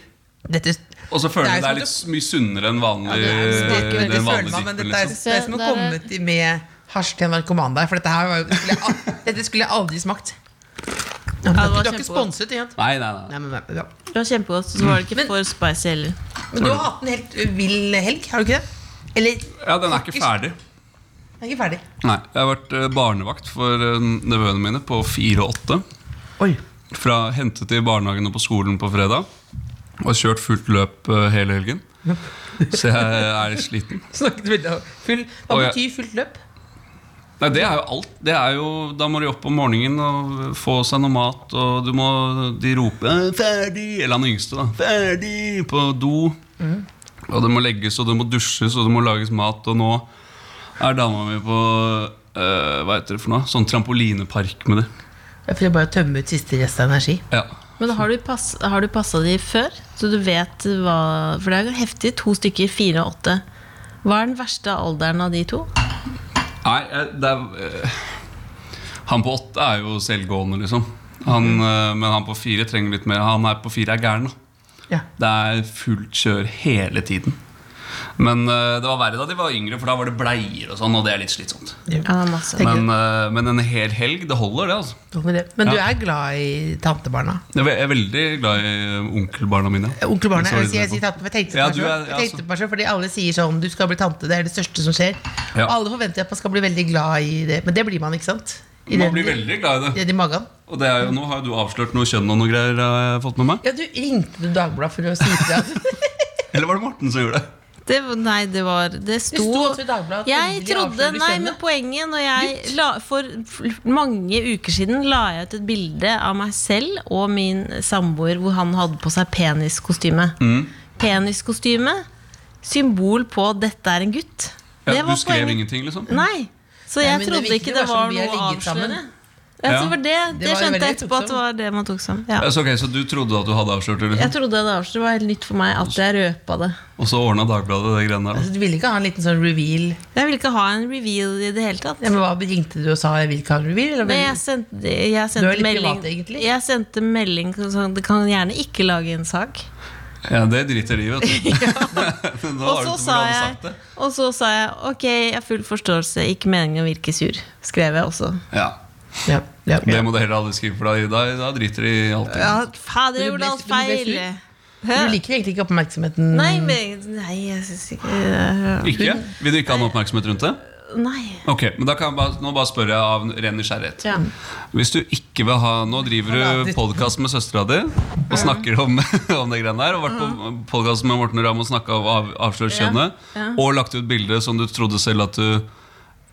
D: Dette
E: Og så føler
D: Det er
E: jeg det
D: som
E: er litt s- mye sunnere enn vanlig
D: det smaker
E: det er
D: veldig
E: en vanlig
D: sølma, men
E: dipp,
D: dette er,
E: liksom.
D: det er som å
B: Se, der
D: komme
B: er-
D: til- med hasj til en narkoman der. For dette, her var, jo- skulle jeg, al- dette skulle jeg aldri smakt. Ja, men
B: Ja, det var
D: du er ikke
B: kjempegodt.
D: sponset, ikke sant?
E: Nei, nei, nei.
D: Nei, men, nei, ja.
B: Det var kjempegodt, så var det ikke
D: Men-
B: for spicy heller.
D: men du har hatt en helt vill helg, har du ikke det? Eller den
E: Ja, den er ikke ferdig.
D: er ikke ferdig.
E: Nei, Jeg har vært eh, barnevakt for eh, nevøene mine på fire og åtte.
D: Oi.
E: Fra hentet i barnehagen og på skolen på fredag. Og har kjørt fullt løp eh, hele helgen. Så jeg er litt sliten.
D: Snakket veldig av full Hva
E: Å, ja.
D: betyr fullt løp?
E: Nei, det er jo alt. Det er jo, da må de opp om morgenen og få seg noe mat. Og du må, de roper «Eh, 'ferdig' Eller han yngste, da. 'Ferdig' på do. Og det må legges, og det må dusjes, og det må lages mat. Og nå er dama mi på eh, hva heter det for noe? Sånn trampolinepark med det.
D: Jeg prøver bare å tømme ut siste rest av energi.
E: Ja.
B: Men har du, pass, har du passa de før? Så du vet hva For det er jo heftig. To stykker, fire og åtte. Hva er den verste alderen av de to?
E: Nei, eh, det er eh, Han på åtte er jo selvgående, liksom. Han, eh, men han på fire trenger litt mer. Han er på fire er gæren, da.
D: Ja.
E: Det er fullt kjør hele tiden. Men eh, det var verre da de var yngre, for da var det bleier og sånn. Og det er litt slitsomt.
B: Ja, det er masse.
D: Tenker
E: Men, eh, men en hel helg, det holder, det. altså
D: du- Men du
E: Ja.
D: er glad i tantebarna?
E: Jeg er ve- jeg er veldig glad i eh, onkelbarna mine.
D: Onkel Barne,
E: Sorry,
D: jeg, sier- jeg sier
E: det er
D: tante, for jeg tenkte
E: Ja,
D: på
E: du
D: det
E: er-
D: selv.
E: ja,
D: Jeg tenkte på det selv, Fordi alle sier sånn Du skal bli tante, det er det største som skjer
E: Ja.
D: Og alle forventer at man skal bli veldig glad i det Men det blir man, ikke sant? I
E: Man
D: den-
E: blir veldig glad i det.
D: i den i magen
E: Og det er jo, nå har jo du avslørt noe kjønn og noe greier. eh, Har jeg fått med meg
D: Ja, du ringte du Dagbladet for å si til at
E: Eller var det Morten som gjorde det?
B: Det, var- nei, det var Det sto,
D: sto også i Dagbladet at
B: Jeg
D: endelig
B: trodde
D: avslører
B: Nei,
D: kjønnet.
B: men poenget Når jeg la, For f- mange uker siden la jeg ut et bilde av meg selv og min samboer hvor han hadde på seg peniskostyme.
E: Mm.
B: Peniskostyme, symbol på 'dette er en gutt'.
E: Ja, du skrev ingenting, liksom?
B: Nei. Så
D: Nei,
B: jeg
D: men det
B: trodde
D: virker
B: ikke
D: jo
B: det var
D: bare som vi
B: noe
D: har
B: å
D: ligget sammen.
B: avsløre. Ja,
E: Ja.
B: så var det, det,
D: Det var jo
B: skjønte jeg etterpå
D: veldig
B: at det
D: oppsom.
B: var det man tok sammen. Ja.
E: Ja, så, ok, så du trodde at du hadde avslørt det?
B: Jeg
E: liksom
B: trodde det var- det var helt nytt for meg at jeg røpa det.
E: Og så ordna Dagbladet det greiene der?
D: altså, Du ville ikke ha en liten sånn reveal
B: Jeg ville ikke ha en reveal i det hele tatt.
D: ja, men hva ringte du og sa Jeg vil ikke ha en reveal eller,
B: Men jeg sendte, jeg
D: Du
B: sendte
D: er litt
B: melding,
D: privat, egentlig.
B: Jeg sendte melding sånn, Det kan gjerne ikke lage en sak.
E: da Ja, Det driter de i, vet du. Men da
B: Og
E: har du
B: så
E: ikke
B: sa
E: hvordan
B: jeg
E: sagt det.
B: Og så sa jeg ok, jeg har full forståelse, ikke meningen å virke sur. Skrev jeg også.
E: Ja,
D: ja, ja,
E: Det
D: ja.
E: må du heller aldri skrive, for da, da, da driter de i alt.
B: Ja, fader, jeg
D: Men du ble-
B: gjorde alt
D: men du ble
B: feil!
D: sur? Du liker egentlig ikke oppmerksomheten.
B: Nei, men, nei jeg syns ikke øh,
E: Ikke? Vil du ikke ha noe oppmerksomhet rundt det?
B: Nei.
E: Ok, men da kan jeg bare, Nå bare spør jeg av ren nysgjerrighet.
B: Ja.
E: Hvis du ikke vil ha Nå driver du podkast med søstera di og snakker om, om det greiene der. Og vært på podkast med Morten Ramm og snakka om av, avslørt kjønnet. Og lagt ut bilde som du trodde selv at du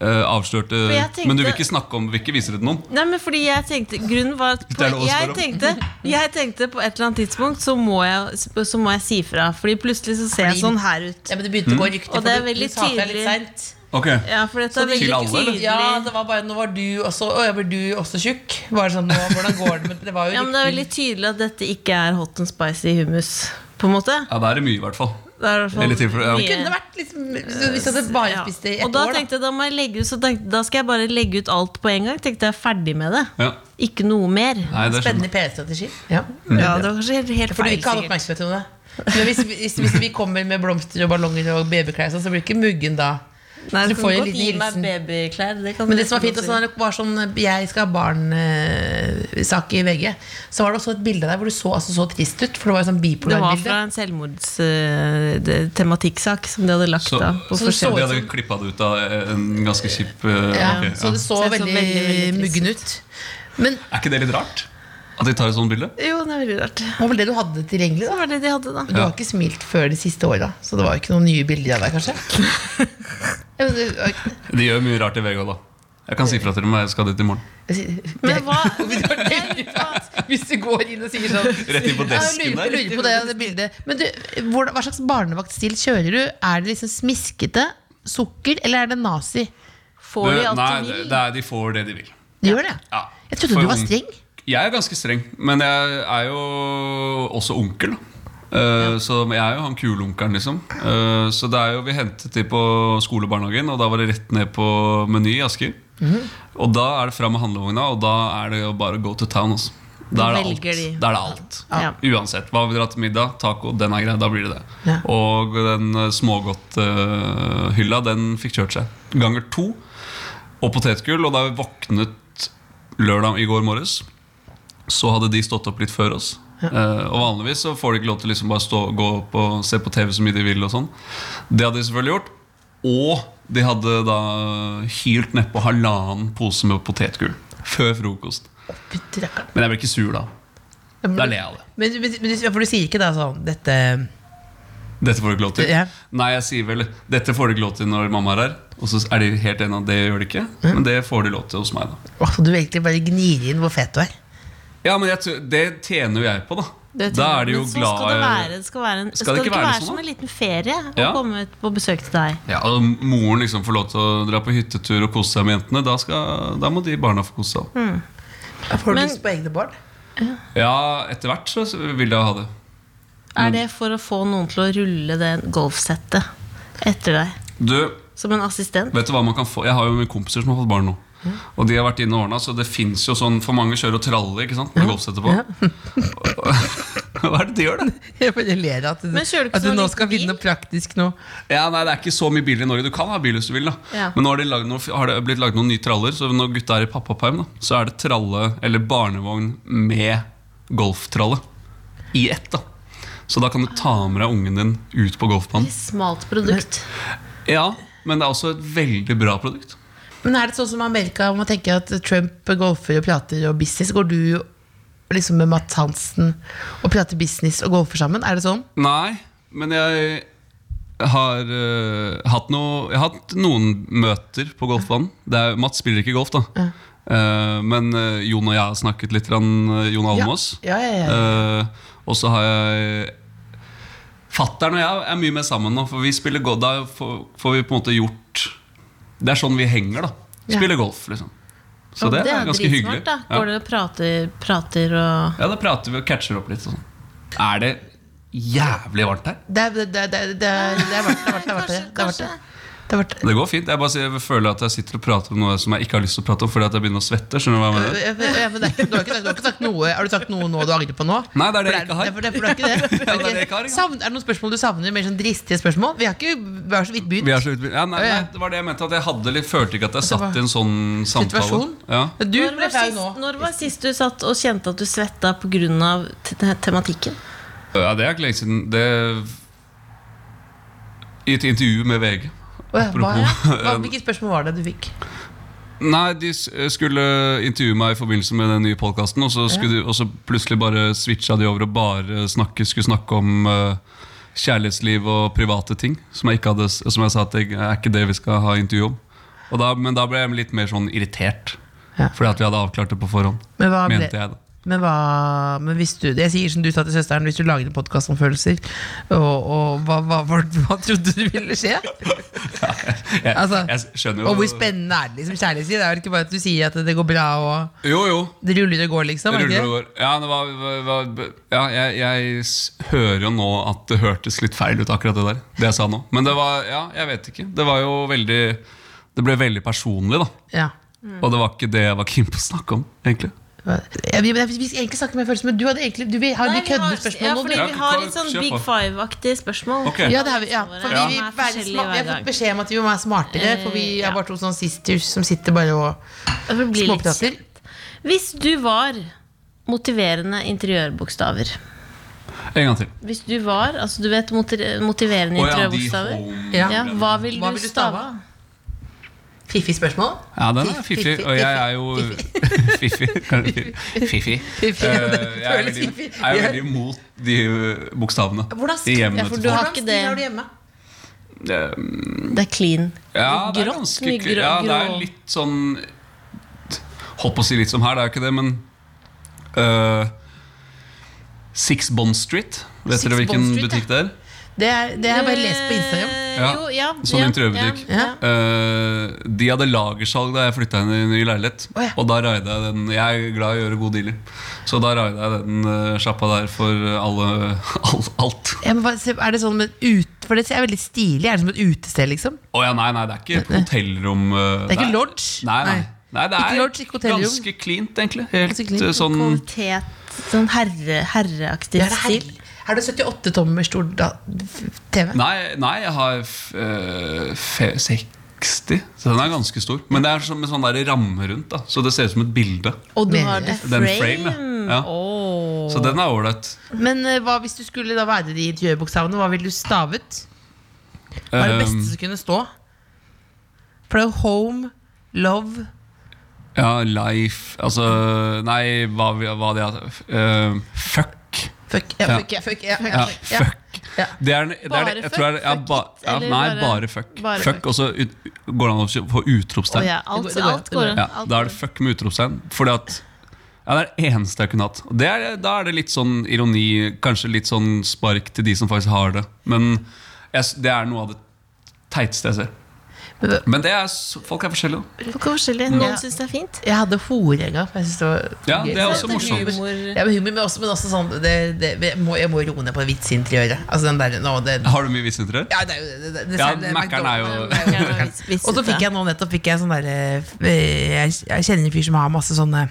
E: eh, avslørte.
B: jeg tenkte-
E: Men du vil ikke snakke om, vil ikke vise det til noen.
B: Nei, men fordi jeg tenkte Grunnen var at på,
E: Det er lov å
B: jeg,
E: spørre om.
B: tenkte, jeg tenkte på et eller annet tidspunkt så må jeg, så må jeg si fra. Fordi plutselig så ser jeg
D: Fordi-
B: sånn her ut.
D: Ja, men det begynte å gå rykter,
B: Og det er
D: for du- du
B: veldig
D: sa fra litt
B: tydelig.
D: sent.
E: Ok,
B: Ja, for dette
D: Så
B: er
D: det
E: Mm. Til
B: veldig
E: alle, eller?
B: tydelig.
D: Ja, det var bare, nå var du også Å, ja, blir du også tjukk? Bare sånn, nå, hvordan går det med Det var jo
B: Ja, men det er veldig
D: rykter.
B: tydelig at dette ikke er hot and spicy hummus. På en måte.
E: Ja, da er det mye, i hvert fall.
B: Det er i hvert fall
E: Eller tilfelle- ja.
B: mye-
E: Det
D: kunne vært liksom, Hvis jeg hadde bare
B: Ja.
D: spist det i
B: Og
D: ett
B: da
D: år, da.
B: tenkte jeg, da må jeg legge ut Så tenkte, jeg, da skal jeg bare legge ut alt på en gang. Tenkte jeg er ferdig med det.
E: Ja.
B: Ikke noe mer.
E: Nei, det skjønner jeg.
D: Spennende PR-strategi. Ja.
B: Ja, det var kanskje helt, helt
D: For du vil
B: feil.
D: ikke ha
B: sikkert.
D: oppmerksomhet om det. Men hvis, hvis, hvis vi kommer med blomster og ballonger og babyklær, og sånn, så blir ikke muggen da.
B: Nei,
D: Så
B: du
D: du
B: får
D: får jo
B: jo
D: en
B: litt
D: liten
B: hilsen.
D: hilsen.
B: Babyklær, det kan du
D: Men det som var fint,
B: godt
D: også,
B: si.
D: når det var sånn Jeg skal ha barn-sak i VG, så var det også et bilde der hvor du så altså, så trist ut. For det var jo sånn
B: Det var
D: bipolar-bilde.
B: fra en selvmordstematikkssak som de hadde lagt
E: Så-
B: da. På
D: så det
E: Så
B: forskjell.
E: de hadde klippa det ut av en ganske kjip eh,
D: Ja, så
E: ok,
D: det
E: ja.
D: så,
B: Så det så
D: veldig,
B: veldig, veldig trist
D: muggen ut. Men
E: Er ikke det litt rart? At de tar et sånt bilde?
B: Jo, det er veldig rart.
D: det var vel det du hadde tilgjengelig,
B: Det
D: da?
B: var det de hadde, da.
D: Du har ikke smilt før de siste åra, så det var jo ikke noen nye bilder av deg, kanskje? Ja, men det var ikke-
E: De gjør mye rart i VG òg, da. Jeg kan si fra til dem jeg skal dit i morgen.
D: jeg sier-
B: Men hva
D: Det var veldig rart Hvis du går inn og sier sånn
E: Rett inn på
D: Ja,
E: desken
D: jeg lurer,
E: der.
D: lurer på det, det bildet. Men du, hvordan, hva slags barnevaktstil kjører du? Er det liksom smiskete, sukker, eller er det nazi?
B: Får de
E: Du,
B: alt
E: Nei,
B: de
E: det,
B: vil?
E: det er, de får det de vil.
D: Du gjør det?
E: Ja.
D: Jeg trodde
E: For
D: du var
E: ung-
D: streng.
E: Jeg er ganske streng, men jeg er jo også onkel. da. Eh, Så jeg er jo han kule onkelen, liksom. Eh, så det er jo, vi hentet de på skolebarnehagen, og da var det rett ned på Meny i Asker.
B: Mhm.
E: Og da er det fram med handlevogna, og da er det jo bare go to town. Altså. Da er det alt.
B: velger de.
E: Da er det alt.
B: Ja.
E: Uansett. Hva vil dere ha til middag? Taco, den er grei. Da blir det det.
D: Ja.
E: Og den eh, smågodthylla, den fikk kjørt seg. Ganger to. Og potetgull. Og da vi våknet lørdag i går morges, så hadde de stått opp litt før oss. Eh, og vanligvis så får de ikke lov til liksom bare stå, gå opp og se på TV så mye de vil. og sånn Det hadde de selvfølgelig gjort. Og de hadde da hylt nedpå halvannen pose med potetgull før frokost.
D: Putter, rakkeren.
E: Men jeg ble ikke sur da.
D: Men,
E: Da ler jeg av det.
D: men, men, men, du- for du sier ikke da sånn dette
E: Dette får du ikke lov til.
D: Ja.
E: Nei, jeg sier vel Dette får du ikke lov til når mamma er her. Og så er de helt enige om at det gjør de ikke. Men det får de lov til hos meg, da.
D: Åh, Du egentlig bare gnir inn hvor fet du er.
E: Ja, men jeg, tror- det tjener jo jeg på, da.
B: Det
E: da
B: tror
E: er de
B: jeg.
E: jo
B: Men sånn
E: glad
B: skal det være. Det skal, være en, skal, det ikke være,
E: sånn,
B: som
E: da?
B: en liten ferie å
E: Ja.
B: komme ut på besøk til deg?
E: Ja, og moren liksom får lov til å dra på hyttetur og kose seg med jentene. Da, skal, da må de barna få kose seg.
B: Mm.
D: Får du
B: Men-
D: lyst på egne barn?
E: Ja, etter hvert så vil de ha det. Mm.
B: Er det for å få noen til å rulle det golfsettet etter deg?
E: Du,
B: Som en assistent?
E: Vet du hva man kan få? Jeg har jo mine kompiser som har fått barn nå.
B: Mm.
E: Og de har vært inne og ordnet, så det finnes jo sånn For mange kjører og traller ikke sant? med golfsettet på. Hva er det de gjør, da?
D: Jeg bare ler av at du,
B: Men kjører du ikke
D: at du
B: sånn
D: nå
B: liten
D: skal
B: bil?
D: finne noe praktisk nå.
E: Ja, nei, Det er ikke så mye biler i Norge. Du kan ha bil hvis du vil. da
B: Ja.
E: Men nå har, de lagd noen, har det blitt lagd noen nye traller, så når gutta er i pappaperm, da, så er det tralle eller barnevogn med golftralle i ett. da Så da kan du ta med deg ungen din ut på golfbanen.
B: Smalt produkt.
E: Ja, men det er også et veldig bra produkt.
D: Men er det sånn som i Amerika, hvor man tenker at Trump golfer og prater og business? Går du liksom med Matt Hansen og prater business og golfer sammen? Er det sånn?
E: Nei, men jeg har eh, hatt noe Jeg har hatt noen møter på golfbanen. Det er, Mats spiller ikke golf, da. Eh, men eh, Jon og jeg har snakket litt. grann, eh, Jon Almås.
D: Ja, ja, ja,
E: Eh, og så har jeg Fattern og jeg er mye mer sammen nå, for vi spiller golf. Da får, får vi på en måte gjort Det er sånn vi henger, da.
D: Ja.
E: Spiller golf, liksom. Så det, er, ganske hyggelig.
B: Da.
E: Ja.
B: Går dere og prater, prater og
E: Ja, da prater vi og catcher opp litt. og Sånn. Er det jævlig varmt her?
D: Det er, det, er- det, er- det, er- det er verdt det. Det er verdt det. Det er verdt det. Det er verdt det.
E: Det går fint. Jeg bare sier- jeg føler at jeg sitter og prater om noe som jeg ikke har lyst til å prate om fordi at jeg begynner å svette. Skjønner du hva jeg
D: Ja,
E: mener?
D: men det er ikke- Du har ikke sagt- du har ikke sagt noe Har du sagt noe nå du angrer på nå?
E: Nei, det er det
D: For
E: jeg ikke har.
D: for øh. det, for det er ikke det.
E: Ja, det er det jeg ikke har, ja.
D: Savn, er det noen spørsmål du savner? Mer sånn dristige spørsmål? Vi har ikke vi har så vidt begynt.
E: Vi er så utby- ja, nei, nei, det var det jeg mente. At jeg hadde litt, følte ikke at jeg satt i en sånn samtale.
D: Situasjon?
E: Ja.
D: Du
B: Når
D: ble
B: var,
D: flau
B: sist,
D: nå.
B: når var sist du satt og kjente at du svetta pga. tematikken?
E: Ja, det er ikke lenge siden. Det I et intervju med VG.
D: Åh, hva,
E: Apropos- um,
D: hva, hvilke spørsmål var det du fikk?
E: Nei, de s- skulle intervjue meg i forbindelse med den nye podkasten, og, så skulle de- og så plutselig bare switcha de over og bare snakke, skulle snakke om eh, kjærlighetsliv og private ting. Som jeg, ikke hadde, s- som jeg sa at det er ikke det vi skal ha intervju om. Og da, men da ble jeg litt mer sånn irritert.
D: Ja.
E: Fordi at vi hadde avklart det på forhånd.
D: Men hva ble-
E: mente jeg da.
D: Men hva men hvis du, Jeg sier som du sa til søsteren, hvis du lager en podkast om følelser, og, og hva, hva, hva, hva trodde du ville skje?
E: Jeg,
D: Altså,
E: jeg skjønner jo
D: Og hvor spennende er det liksom kjærlighetsliv? Det er jo ikke bare at du sier at det går bra, og
E: Jo, jo.
D: det ruller og går, liksom.
E: Det
D: er det ikke det?
E: ruller og går. Ja, det var, var, var, ja jeg, jeg s- hører jo nå at det hørtes litt feil ut, akkurat det der. Det jeg sa nå. Men det var Ja, jeg vet ikke. Det var jo veldig Det ble veldig personlig, da.
D: Ja.
E: Og det var ikke det jeg var keen på å snakke om, egentlig.
D: Jeg, jeg, jeg, vi skal egentlig snakke med følelser, men du hadde egentlig Du vi har
B: Nei,
D: de
B: vi har- ja,
D: køddespørsmålene nå.
B: fordi
E: Ja,
B: vi har
E: kjør-
B: litt sånn
E: kjør
B: Big
E: på.
B: Five-aktige spørsmål.
E: Ok.
D: Ja, det har vi, ja, fordi
E: Ja.
D: vi,
B: Som er
D: være
B: forskjellige
D: sma- vi har
B: hver
D: fått
B: dag.
D: beskjed om at vi må være smartere, for vi
B: Eh, ja.
D: er bare to sånne sisters som sitter bare og
B: Det blir litt
D: småprater.
B: Hvis du var motiverende interiørbokstaver
E: En gang til.
B: Hvis du var, altså du vet motir- motiverende
E: Å ja, de
B: interiørbokstaver
E: home-
D: Ja.
B: ja, Hva vil
D: Hva
B: du
D: vil du
B: stave?
D: stave? Fiffig spørsmål.
E: Ja, den er fiffig. Og jeg er jo Fiffi. Fiffi.
D: Fiffig, ja,
E: Eh,
D: det
E: Jeg er
D: føles
E: veldig,
D: fiffig.
E: jeg er veldig imot de eh, bokstavene.
D: Hvordan
E: I
D: skriver,
E: hjemmene
D: ja, for
E: til
D: du har
B: folk.
D: ikke
B: Hvordan
D: det.
B: skriver du
D: hjemme?
E: folk. Eh,
B: Det er clean.
E: Ja, det er
B: Grått,
E: ganske
B: mye
E: kul.
B: grå-
E: Ja, det er
B: grå.
E: litt sånn Holdt på å si litt som her, det er jo ikke det, men øh, Six Bond Street. Vet
D: Six
E: dere hvilken
D: Bond Street,
E: butikk det er?
D: Det er- det har jeg bare lest på Instagram.
B: Eh,
E: Ja,
B: Jo, ja,
E: sånn
B: ja,
E: interiørbutikk.
B: Ja, ja.
E: Øh, de hadde lagersalg da jeg flytta inn i ny leilighet.
D: Å, ja.
E: Og da raida jeg den. Jeg er glad i å gjøre gode dealer, så da raida jeg den øh, sjappa der for alle, all, alt.
D: Ja, men hva- se, er det sånn med ut, For det er veldig stilig. Er det som et utested, liksom?
E: Å ja, nei, nei, det er ikke hotellrom. øh,
D: Det er ikke lodge?
E: Nei, nei.
D: Nei.
E: nei det
D: Ikke
E: er
D: lodge, ikke hotellrom.
E: ganske cleant, egentlig. Helt
D: Ganske cleant.
E: øh, sånn
B: Kvalitet, sånn herre, herreaktig
D: Ja, det er
B: stil.
D: herlig. Har du 78 tommer stor da, TV?
E: Nei, nei jeg har f- øh, fe- 60, så den er ganske stor. Men det er som en sånn der ramme rundt, da så det ser ut som et bilde.
B: Og du
D: Mener
B: har
D: jeg.
B: The
E: Den
B: Frame.
E: frame. Ja. Så den er ålreit.
D: Men eh, hva hvis du skulle da være de interiørbokstavene? Hva ville du stavet? Hva
E: Um,
D: er det
E: Ehm,
D: beste som kunne stå? For det er jo home, love
E: Eh, ja, life Altså, nei, hva, vi- hva det er eh, Fuck.
D: Fuck, ja,
E: Ja.
D: fuck, ja, fuck, ja,
E: Ja,
D: ja, fuck, ja.
E: fuck.
D: Ja.
E: Det er, den- det er,
B: Bare
E: det- jeg tror det er, ja,
B: fuck,
E: ba,
B: fuck it,
E: ja,
B: eller
E: nei,
B: bare-
E: bare fuck.
B: bare
E: fuck.
B: fuck.
E: Og så ut- går det an å
B: Å
E: få utropstegn.
B: ja,
D: Det
B: alt,
D: går- det går-
B: alt går an.
E: Ja,
B: alt
E: da
B: går
E: er det fuck med utropstegn. Fordi at ja, Det er det eneste jeg kunne hatt. Og det er, da er det litt sånn ironi, kanskje litt sånn spark til de som faktisk har det. Men jeg, s- det er noe av det teiteste jeg ser.
D: Men det-
E: Men det er, s- folk er forskjellige. da.
B: an. Forskjellig. Noen
D: Ja.
B: syns det er fint.
D: Jeg hadde hore en gang. for Jeg synes det var
E: Ja,
D: gøy.
E: det er også
B: Det er
E: morsomt.
B: humor.
D: Ja, men humor, men også, men også sånn det, det, jeg, må, jeg må roe ned på vitsinteriøret. Altså den der nå, det,
E: Har du mye vitsinteriør?
D: Ja, det er jo det, det, det,
E: Ja,
D: særlig det
E: Mac-eren er jo-
D: McDonald's- det jo Mac-eren. Og så fikk jeg nå nettopp fikk jeg sånn der, eh, jeg, jeg kjenner en fyr som har masse sånne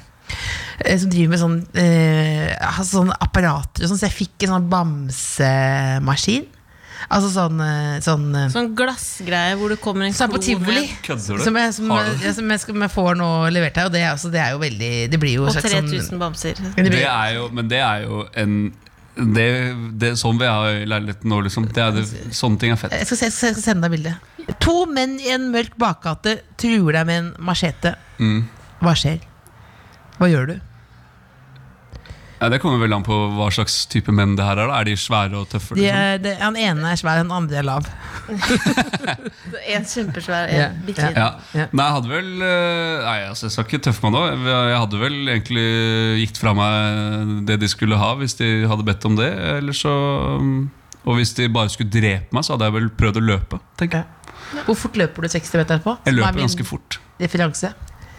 D: eh, som driver med sånn, eh, altså sånne apparater og sånn, så jeg fikk en sånn bamsemaskin. Altså sånn, eh, sånn eh,
B: Sånn glassgreie hvor det kommer en
D: Som er på
B: klo
D: tivoli.
B: ned.
E: Kødder du?
D: Som jeg, som,
E: Har du det?
D: ja, som jeg, skal, som jeg får nå levert her, og det, er også- det er jo veldig Det blir jo
B: Og
D: et slags sånn
B: 3000 bamser.
D: det
E: Det
D: blir,
E: er jo, men det er jo en det, det, Sånn vi har i leiligheten nå, liksom. Det er det, sånne ting er fett.
D: jeg, skal, se- jeg skal sende deg bildet. To menn i en mørk bakgate truer deg med en machete.
E: Mm.
D: Hva skjer? Hva gjør du?
E: Ja, det kommer vel an på hva slags type menn det her er. da Er de svære og tøffe?
D: De
E: Liksom?
D: er, det- han ene er svær, han andre er lav.
B: En kjempesvær,
D: Ja.
B: en bitte liten.
E: Ja.
D: Ja.
E: Nei, jeg hadde vel eh, Nei, altså, jeg skal ikke tøffe meg nå. Jeg jeg hadde vel egentlig gitt fra meg det de skulle ha, hvis de hadde bedt om det. Eller så mm, Og hvis de bare skulle drepe meg, så hadde jeg vel prøvd å løpe. tenker jeg
D: Hvor fort løper du 60 meter på?
E: Jeg
D: Som er
E: løper
D: min
E: ganske fort.
D: Referanse.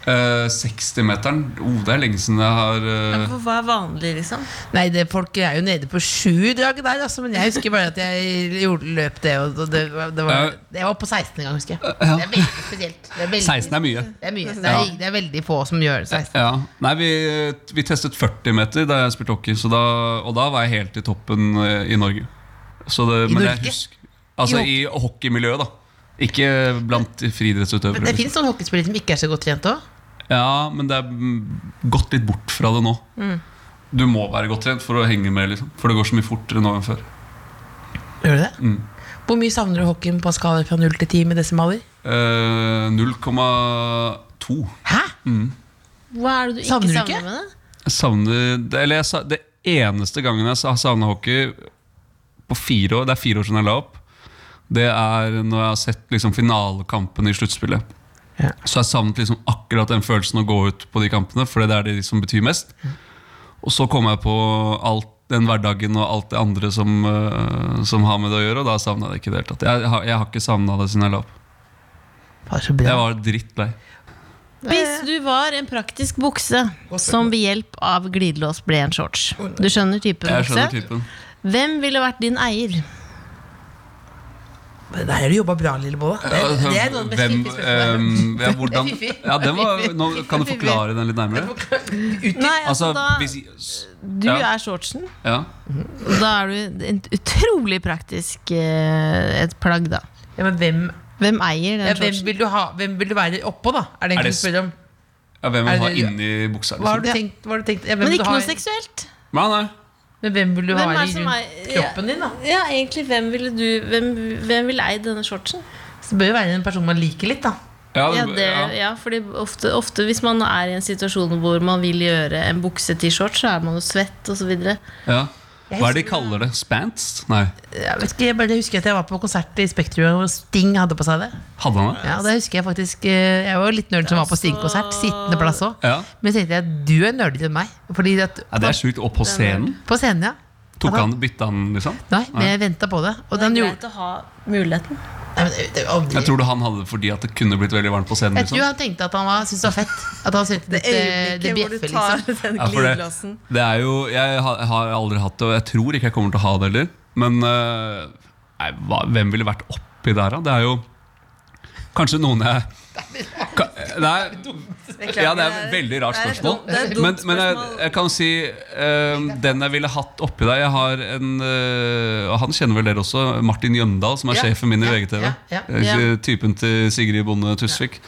E: Eh, 60-meteren oh, Det er lenge siden jeg har eh,
B: For Hva er vanlig, liksom?
D: Nei, det, folk er jo nede på sju drag der, altså, men jeg husker bare at jeg gjorde, løp det. Og det, det, var, det var, jeg var på 16 en gang, husker jeg. Det er veldig spesielt. Det er veldig,
E: 16 er mye.
D: Det er mye. Det er, det er veldig få som gjør 16.
E: Ja. Nei, vi, vi testet 40 meter da jeg spilte hockey, så da, og da var jeg helt i toppen eh, i Norge. Så det,
D: I
E: men
D: Norge?
E: Jeg husker, altså I, hockeymiljøet, da. Ikke blant friidrettsutøvere.
D: Men det
E: liksom.
D: fins noen hockeyspillere som ikke er så godt trent òg.
E: Ja, men det er mm, gått litt bort fra det nå. Du må være godt trent for å henge med, liksom. For det går så mye fortere nå enn før.
D: Gjør du det?
E: Mm.
D: Hvor mye savner du hockeyen på en skala fra 0 til 10 med desimaler?
E: Eh, 0,2.
D: Hæ?
B: Hva er det du ikke
D: Savner
B: savner,
D: du ikke?
B: med det?
E: Jeg savner det, Eller jeg, sa- det eneste gangen jeg sa- savner hockey på fire år, det er fire år siden jeg la opp, det er når jeg har sett liksom, finalekampen i sluttspillet.
D: Ja.
E: Så jeg savnet liksom akkurat den følelsen å gå ut på de kampene, for det er det som betyr mest. Og så kom jeg på alt den hverdagen og alt det andre som, eh, som har med det å gjøre, og da savna jeg det ikke i det hele tatt. Jeg, har- jeg har ikke savna det siden jeg la opp.
D: Fader, så bra.
E: Jeg var drittlei.
B: Hvis du var en praktisk bukse som ved hjelp av glidelås ble en shorts Du skjønner typen
E: Jeg skjønner
B: bukse?
E: typen.
B: Hvem ville vært din eier?
D: Men Der har du jobba bra, lille Bolla. Det, det er noe av det beste
E: Eh, Hvem,
D: fiffige spørsmålet.
E: ehm, ja, hvordan, ja, den var, nå, kan du forklare den litt nærmere?
B: Nei, altså,
E: Altså,
B: da,
E: hvis,
B: du
E: ja.
B: er shortsen.
E: ja.
B: Da er du en utrolig praktisk eh, et plagg, da.
D: Ja, men hvem,
B: Hvem eier den
D: ja, hvem,
B: shortsen?
D: vil du ha, hvem vil du være oppå, da? Er det
E: Er
D: en
E: det
D: du spør om?
E: ja, Hvem
D: Er
E: vil ha
D: det-
E: inni buksa?
D: Hva har du
E: Liksom.
D: tenkt? Hva har du tenkt? Ja, hvem
B: Men
D: vil du
B: ikke
D: ha
B: noe
D: i-
B: seksuelt.
E: Nei, nei.
D: Men hvem vil du
B: Hvem
D: ha
B: er
D: i
B: det som
D: rundt
B: er-
D: kroppen din, da?
B: Ja, egentlig, hvem ville du Hvem, hvem ville eid denne shortsen?
D: Så det bør jo være en person man liker litt, da.
B: Ja,
E: Ja,
B: det,
E: ja.
B: ja fordi ofte, ofte hvis man er i en situasjon hvor man vil gjøre en bukse til shorts, så er man jo svett osv.
E: Ja. Hva er det de kaller det? Spants? Nei.
D: Jeg, vet ikke, jeg bare husker at jeg var på konsert i Spektrum, hvor Sting hadde på seg det.
E: Hadde han det?
D: Ja, det husker Jeg faktisk eh, Jeg var jo litt nerd som var på Sting-konsert. Sittende plass òg.
E: Ja.
D: Men så tenkte jeg du er nerdete enn meg. Fordi at
E: Ja, det er sjukt. Og på scenen?
D: På scenen, ja.
E: Tok han, Bytta han, liksom?
D: Nei, men jeg venta på det.
B: Det er
D: Og den
B: greit
D: gjorde
B: å ha muligheten.
D: Nei, men eh, det- det var aldri-
E: Jeg tror du han hadde det fordi at det kunne blitt veldig varmt på scenen?
D: Jeg tror
E: liksom
D: han tenkte at han var, syntes det var fett. At han syntes eh, det, det, det bjeffer, liksom.
B: den
E: Ja, for det, det er jo Jeg ha- har aldri hatt det, og jeg tror ikke jeg kommer til å ha det heller. Men eh, nei, hva, hvem ville vært oppi der, da? Det er jo kanskje noen jeg Ka- Nei, ja, det er et veldig rart
B: det er et
E: spørsmål.
B: dumt- det er et dumt
E: Men, men jeg,
B: spørsmål.
E: jeg kan si eh, den jeg ville hatt oppi der Jeg har en eh, og Han kjenner vel dere også, Martin Jøndal, som er
D: Ja,
E: sjefen min i
D: ja,
E: VGTV.
D: ja, ja.
E: Eh, Typen til Sigrid Bonde Tusvik.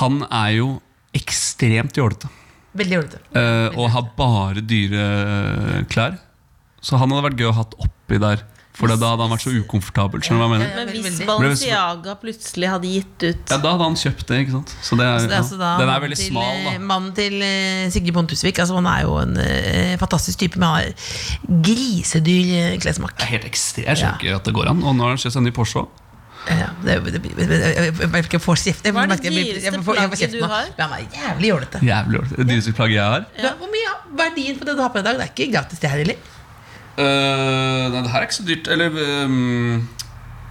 E: Han er jo ekstremt jålete.
D: liksom. Veldig jålete.
E: Eh, og har bare dyre eh, klær. Så han hadde vært gøy å ha oppi der. For da hadde han vært så ukomfortabel. Skjønner du hva jeg mener?
B: Men hvis
D: Veldig.
B: Balenciaga plutselig hadde gitt ut
E: Ja, Da hadde han kjøpt det. ikke sant? Så det er,
D: Så det er
E: ja.
D: altså da
E: Den
D: mannen
E: er veldig
D: til,
E: smal,
D: eh,
E: da.
D: Mannen til eh, Sigrid Bonde Tusvik. Altså, han er jo en eh, fantastisk type, men han har grisedyr eh, klessmak.
E: Det er helt ekstremt. Jeg skjønner ikke at det går an. Og nå har han kjøpt seg en ny Porsche også.
D: Eh, Ja, det, det, det, det, jeg merker jeg får kjeft. Jeg
B: Hva er det
D: merker jeg blir- jeg
B: dyreste
D: får- jeg får
B: plagget
D: kjeft
B: du
D: nå.
B: har?
D: Men Han er jævlig jålete.
E: Jævlig ordentlig. Det dyreste plagget jeg har.
D: Du, Hvor mye av verdien på det du har på deg i dag? Det er ikke gratis, det her heller.
E: Eh, nei, det her er ikke så dyrt. Eller ehm,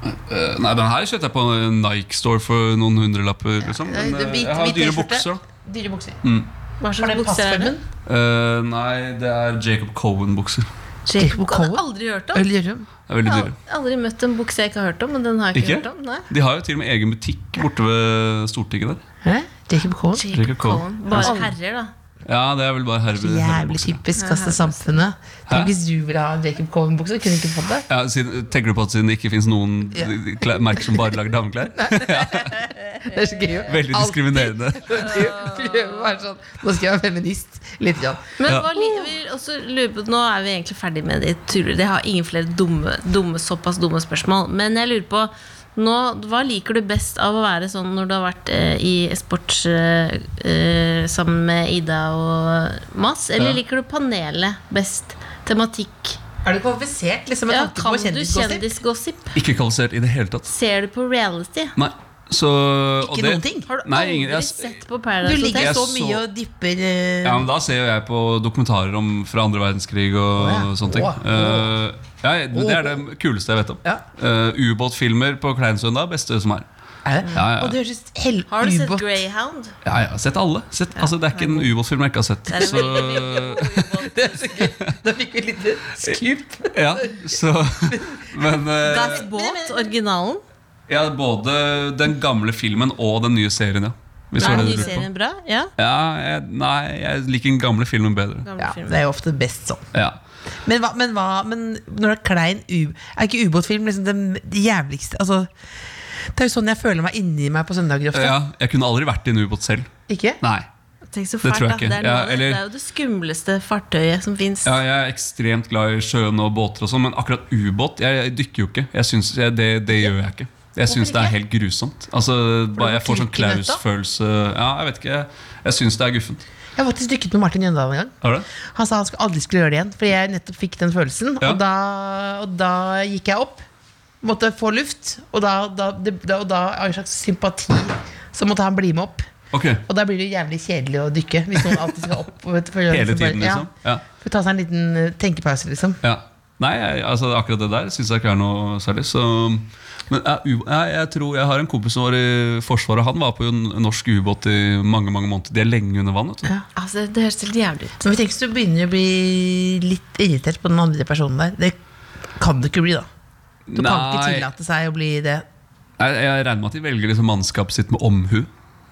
E: eh, Nei, den her kjøpte jeg på en Nike Store for noen hundrelapper. Liksom. Men,
D: Det er
E: eh,
D: hvit-
E: jeg har
D: hvit
E: dyre
D: T-skjorte.
E: bukser. da.
D: Dyre bukser.
B: Hva
D: Har
B: slags
D: den
B: bukser er det?
D: passformen?
E: Eh, nei, det er Jacob Cohen-bukser.
B: Jacob
D: Cohen?
B: Cohen? Aldri hørt om.
D: Eller gjør du?
E: Det er veldig
B: Jeg
E: dyre.
B: har aldri møtt en bukse jeg ikke har hørt om. Men den har jeg ikke,
E: Ikke?
B: hørt om Nei.
E: De har jo til og med egen butikk borte ved Stortinget der.
D: Hæ? Jacob Cohen?
E: Jacob Cohen.
B: Bare herrer, da.
E: Ja, det er vel bare herve.
D: Jævlig typisk altså, samfunnet. Tenk hvis du ville ha en Jacob Cohen-bukse, kunne du ikke fått det.
E: Ja, siden, tenker du på at siden det ikke fins noen klær, merker som bare lager dameklær?
B: Eh,
D: Det er så gøy. jo.
E: Veldig diskriminerende.
D: Alltid prøve å være sånn Nå skal jeg være feminist. Litt grann.
B: Men
E: Ja.
B: hva li- vi også lurer på, Nå er vi egentlig ferdig med de tuller. Jeg har ingen flere dumme, dumme, såpass dumme spørsmål. Men jeg lurer på nå, Hva liker du best av å være sånn når du har vært eh, i sports eh, eh, sammen med Ida og Mads? Eller
E: Ja.
B: liker du panelet best? Tematikk?
D: Er du kvalifisert liksom, med
B: Ja,
D: tanke
B: kan
D: på
B: du
D: kjendisgossip?
B: kjendisgossip?
E: Ikke kvalifisert i det hele tatt.
B: Ser du på reality?
E: Nei, så og
D: Ikke
E: det-
D: noen ting?
B: Har du
E: Nei, ingen,
B: aldri
E: jeg,
B: sett på
D: Du
B: Paradise
D: ligger
B: Hotel?
E: Jeg
D: så
E: så-
D: mye og dypper eh,
E: ja, men da ser jo jeg på dokumentarer om fra andre verdenskrig
D: Å,
E: og
D: ja.
E: sånne ting.
D: Å.
E: Eh, ja, det er det kuleste jeg vet om.
D: Ja.
E: Eh, Ubåtfilmer på Kleinsøndag, beste som er.
D: Er det?
E: Ja, ja, ja.
D: Og du høres helt
B: Har du sett
D: ubåt
B: Greyhound?
E: Ja, jeg har sett alle. Sett, altså, det er ikke en ubåtfilm jeg ikke har sett.
B: Det er
E: Så,
B: en
D: Det er så gøy. Da fikk vi et lite skup.
E: ja, så, men eh,
B: That's Båt, originalen.
E: ja, Både den gamle filmen og den nye serien, ja. Hvis det
B: Er
E: var
B: den
E: det
B: nye
E: du lurte på.
B: serien bra? Ja?
E: Ja, jeg, nei, jeg liker den gamle filmen bedre.
B: Gamle
D: Ja,
B: film.
D: det er jo ofte best sånn.
E: Ja.
D: Men, hva, men, hva, men når det er klein u... Er ikke ubåtfilm liksom den jævligste altså, Det er jo sånn jeg føler meg inni meg på søndager ofte.
E: ja, Jeg kunne aldri vært i en ubåt selv.
D: Ikke?
E: Nei.
B: Tenk så
E: Det
B: fælt,
E: tror
B: da. Det
E: jeg ikke.
B: er, noe,
E: Ja,
B: av det-
E: eller-
B: det er jo det skumleste fartøyet som fins.
E: Ja, jeg er ekstremt glad i sjøen og båter, og sånn men akkurat ubåt Jeg jeg dykker jo ikke. Jeg synes, jeg, det, det gjør jeg ikke. Jeg syns det er helt grusomt. Altså, bare, jeg får sånn
D: klikken ut, da?
E: klausfølelse Ja, jeg vet ikke. Jeg, jeg syns det er guffent.
D: Jeg har faktisk dykket med Martin Jøndal en gang.
E: Har du det?
D: Han sa han skulle- aldri skulle gjøre det igjen, fordi jeg nettopp fikk den følelsen.
E: Ja.
D: Og, da, og da gikk jeg opp, måtte få luft, og da, da, det, da, og da av en slags sympati så måtte han bli med opp.
E: Ok.
D: Og da blir det jo jævlig kjedelig å dykke hvis noen alltid skal opp. Vet, du, for å gjøre
E: Hele
D: det som bare-
E: tiden, liksom? Ja.
D: Ja, for å ta seg en liten eh, tenkepause, liksom.
E: ja. Nei, jeg, altså, akkurat det der syns jeg ikke er noe særlig. Så, men jeg, jeg, jeg tror jeg har en kompis som var i Forsvaret. Han var på en norsk ubåt i mange mange måneder. De er lenge under vann. vet du.
B: Altså, det høres helt jævlig ut.
D: Men vi tenker så du begynner å bli litt irritert på den andre personen der. Det kan du ikke bli, da. Du kan ikke
E: Nei,
D: tillate seg å bli det.
E: jeg, jeg regner med at de velger liksom mannskapet sitt med omhu.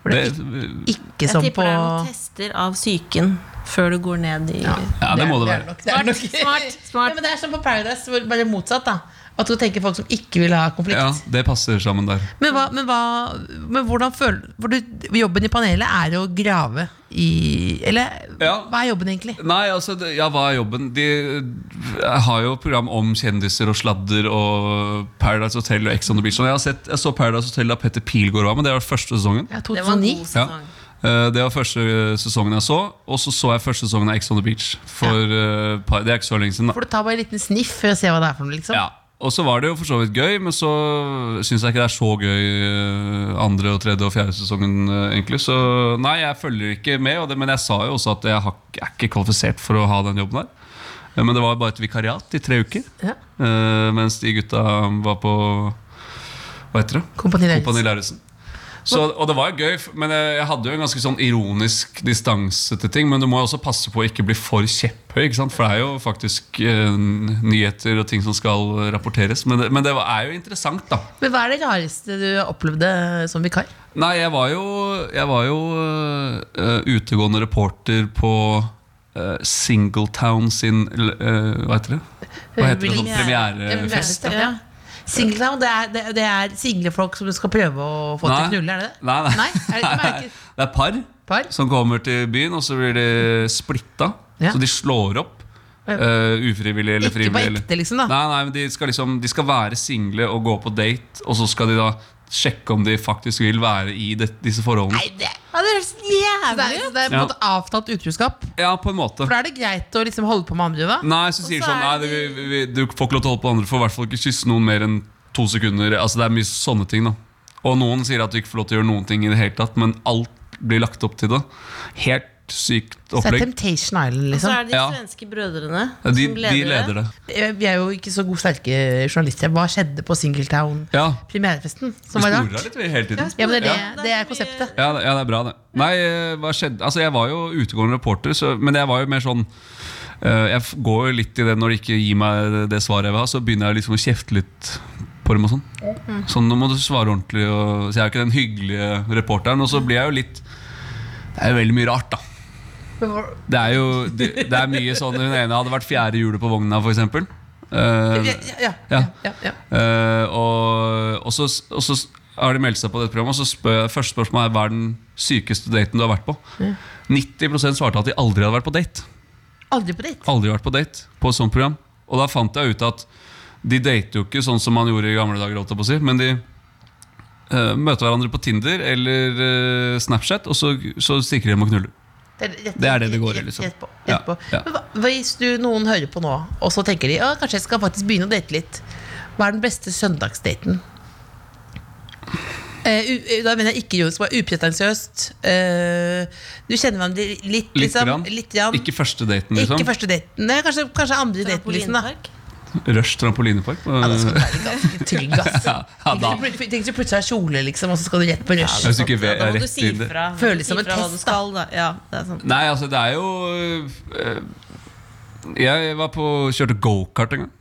D: For det er
E: Det-
D: Ikke
B: Jeg
D: som
B: tipper
D: på
B: det er noen tester av psyken før du går ned i
E: Ja, det må det være.
D: nok, det er nok.
B: Smart, smart.
D: Ja, men det er som på Paradise, hvor bare motsatt. da At du tenker folk som ikke vil ha konflikt.
E: Ja, det passer sammen der.
D: Men, hva, men, hva, men hvordan føler for du, Jobben i panelet er å grave i Eller
E: Ja.
D: hva er jobben, egentlig?
E: Nei, altså, det, ja, hva er jobben? De jeg har jo program om kjendiser og sladder og Paradise Hotel og Ex on the Beach. Og Jeg, har sett, jeg så Paradise Hotel da Petter Pilgaard var med, det var første sesongen.
D: Ja,
B: Det var liksom. en
D: 2009.
B: god
E: Ja.
B: sesong.
E: Eh, Det var første sesongen jeg så, og så så jeg første sesongen av Ex on the Beach. For, eh, par- det er ikke så lenge siden. da.
D: Får du ta bare en liten sniff for å se hva det er for noe? liksom
E: Ja. Og så var det jo for så vidt gøy, men så syns jeg ikke det er så gøy eh, andre, og tredje og fjerde sesongen. eh, egentlig Så nei, jeg følger ikke med, og det, men jeg sa jo også at jeg har, jeg er ikke kvalifisert for å ha den jobben her. Eh, Men det var bare et vikariat i tre uker.
D: Ja.
E: eh, mens de gutta var på Hva heter det?
D: Kompani Lauritzen.
E: Kompani Lauritzen. Så, og det var jo gøy, f- men jeg, jeg hadde jo en ganske sånn ironisk distanse til ting. Men du må jo også passe på å ikke bli for kjepphøy, ikke sant? for det er jo faktisk eh, nyheter og ting som skal rapporteres. Men det, men det var- er jo interessant, da.
D: Men hva er det rareste du opplevde som vikar?
E: Nei, jeg var jo, jeg var jo eh, utegående reporter på eh, Singletown sin eh, Hva heter det? Hva heter det sånn premierefest?
D: Ja. Single, det, er, det, det er single folk som du skal prøve å få til å knulle, er det det?
E: Nei, nei.
D: Nei, er det ikke merket?
E: Det er par,
D: Par?
E: som kommer til byen, og så blir de splitta.
D: Ja.
E: Så de slår opp. eh, ufrivillig eller
D: Ikke på
E: frivillig. eller-
D: ekte, liksom, da.
E: Nei, nei, men de skal, liksom, de skal være single og gå på date, og så skal de da sjekke om de faktisk vil være i det, disse forholdene.
D: Nei, det,
B: Ja, det høres
D: det
B: jævlig
D: er,
B: ut!
D: det er på en måte avtalt utroskap.
E: Ja, på en måte.
D: For da er det greit å liksom holde på med andre, da.
E: Nei, så sier de
B: så
E: sånn Nei,
B: er
E: det, vi, vi, du får ikke lov til å holde på andre. Får i hvert fall ikke kysse noen mer enn to sekunder. Altså Det er mye sånne ting da Og noen sier at du ikke får lov til å gjøre noen ting i det hele tatt, men alt blir lagt opp til det. Helt sykt
D: Så det er
E: opplegg.
D: Temptation Island,
B: Så
D: liksom.
B: er det de
E: Ja.
B: svenske brødrene
E: Ja, de,
B: som
E: de leder det.
D: Eh, Vi er jo ikke så gode, sterke journalister. Hva skjedde på Singletown?
E: Ja.
D: Premierefesten, som
E: Vi
D: var rart.
E: sporer av litt vi, hele tiden.
D: Ja, men det, er
B: Ja.
D: det, det er konseptet.
E: Ja, det- ja, det er bra, det. Nei, eh, hva skjedde? Altså, jeg var jo utegående reporter, så, men jeg var jo mer sånn eh, Jeg f- går jo litt i det når de ikke gir meg det- det svaret jeg vil ha, så begynner jeg liksom å kjefte litt på dem og sånn.
D: Mm.
E: Sånn, nå må du svare ordentlig, og, så jeg er jo ikke den hyggelige reporteren. Og så blir jeg jo litt Det er jo veldig mye rart, da. Det er jo det, det er mye sånn Hun ene hadde vært fjerde hjulet på vogna, for eksempel. Eh,
D: Ja, ja,
E: ja.
D: ja, ja.
E: Eh, og, og, så, og så har de meldt seg på dette programmet, og så spør, første spørsmål er hva er den sykeste daten du har vært på. 90 svarte at de aldri hadde vært på date.
D: Aldri på date.
E: Aldri vært på date på et sånt program. Og da fant jeg ut at de dater jo ikke sånn som man gjorde i gamle dager, holdt jeg på å si, men de eh, møter hverandre på Tinder eller eh, Snapchat, og så, så stikker de hjem og knuller.
D: Det er rett-
E: Det er det det går i,
D: rett-
E: liksom.
D: Rett på, rett
E: Ja,
D: på.
E: ja.
D: Men hva, hvis du, noen hører på nå, og så tenker de «Å, kanskje jeg skal faktisk begynne å date litt. Hva er den beste søndagsdaten? Eh, u, eh, da mener jeg ikke ironisk, bare upretensiøst. Eh, du kjenner hverandre litt,
E: Litt
D: liksom.
E: grann.
D: Litt grann.
E: Ikke første daten,
D: Ikke
E: liksom.
D: første daten. Nei, kanskje, kanskje andre daten. Liksom, da.
B: Trampolinepark.
E: Rush trampolinepark.
D: Ja, da skal du være ganske trygg, ass.
E: Ja, ja, da.
D: Tenk hvis du- tenk hvis du plutselig har kjole, liksom, og så skal du rett på rush.
E: Hvis du ikke
B: Ja,
E: vet,
B: Da
E: er
B: må du
E: rett
B: si
E: i det.
B: ifra.
D: Føles
B: Si
D: som en
B: ifra hva du
D: test, da.
B: skal, da. Ja, det er sånn. sant.
E: Nei, altså det er jo øh, Jeg var på, kjørte gokart en gang.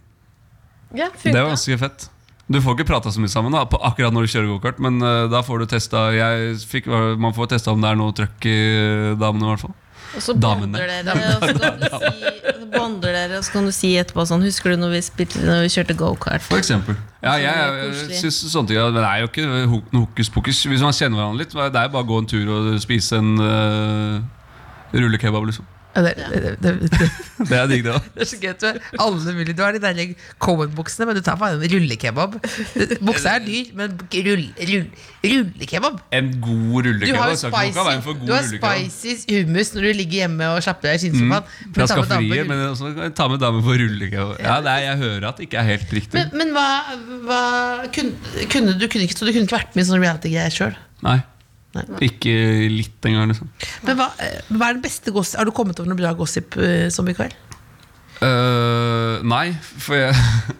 B: Ja,
E: Det var
B: funka.
E: ganske fett. Du får ikke prata så mye sammen da, på akkurat når du kjører gokart, men øh, da får du testa jeg fikk, Man får testa om det er noe trøkk i eh, damene, i hvert fall.
B: Og så
E: Damene.
B: bonder dere, og så kan du si, og så bonder dere, og så kan du si etterpå sånn Husker du når vi, spilte, når vi kjørte gokart?
E: For eksempel. Ja, jeg, jeg,
B: Koselig.
E: synes sånne ting ja, Men det er jo eh, ikke ho- noe hokus pokus. Hvis man kjenner hverandre litt, det er jo bare å gå en tur og spise en øh, Rullekebab, liksom.
D: Ja, det, det, det, det,
E: Det er digg, det òg.
D: det er så gøy. at Du, har alle mulig. du har de der Cohen-buksene, men du tar faen en rullekebab. Buksa er dyr, men rull, rull, rullekebab
E: En god
D: Du har
E: rullekebab.
D: jo
E: skal ikke noe av veien for
D: spicy,
E: god
D: du har
E: rullekebab. Mm.
D: spicy hummus når du ligger hjemme og slapper deg i skinnsofaen. men
E: Fra
D: ta med dame på
E: skafferiet,
D: rulle-
E: men også kan jeg ta med dame for rullekebab. Ja, det er, Jeg hører at det ikke er helt riktig.
D: Men, men hva, hva kunne, kunne du kunne ikke, Så du kunne ikke vært med i sånne reality-greier sjøl?
E: Nei. Ikke litt engang, liksom.
D: Men hva, eh, hva er den beste gossip? Har du kommet over noe bra gossip eh, som i kveld?
E: Øh, nei, for jeg,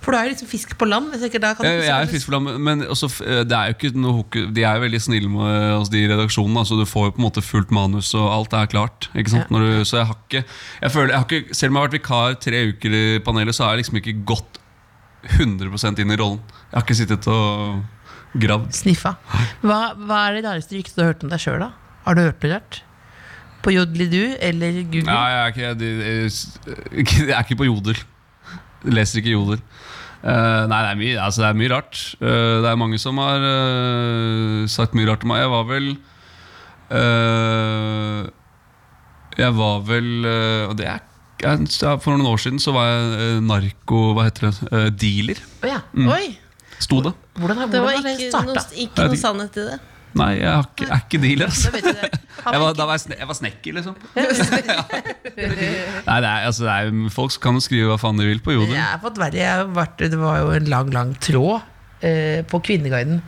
D: For du er jo liksom fisk på land. Jeg tenker, da kan du
E: jeg, jeg er
D: sikkert-
E: fiskelam, men også, f- eh, det er jo ikke noe hoku- De er jo veldig snille med oss, de i redaksjonen. Altså, du får jo på en måte fullt manus, og alt er klart. Ikke sant? Når du, så jeg har ikke, jeg føler, jeg har ikke Selv om jeg har vært vikar tre uker i panelet, så har jeg liksom ikke gått 100 inn i rollen. Jeg har ikke sittet og gravd.
D: Sniffa. Hva, hva er det rareste ryktet du har hørt om deg sjøl, da? Har du hørt noe rart? På Jodelidu eller Google?
E: Nei, jeg er ikke, de- jeg, jeg er ikke på Jodel. Jeg Leser ikke Jodel. Eh, nei, det er, mye, altså, det er mye rart. Eh, det er mange som har eh, sagt mye rart til meg. Jeg var vel eh, Jeg var vel eh, Og det er ja, For noen år siden så var jeg eh, narko... Hva heter det? Eh, dealer,
D: Å ja.
E: Mm.
B: Oi,
E: sto det.
B: Det
D: Hvordan, hvordan
B: var
D: har det
B: ikke
D: starta?
B: noe, ikke noe sannhet i det.
E: Nei, jeg har ikke, er ikke dealer, altså.
D: Vet du det?
E: Jeg var, da var jeg, sne jeg var snekker, liksom. ja. Nei, det er, altså, det er, folk kan jo skrive hva faen de vil på Jodel.
D: Jeg har fått verre. Jeg har vært, det var jo en lang, lang tråd eh, på Kvinneguiden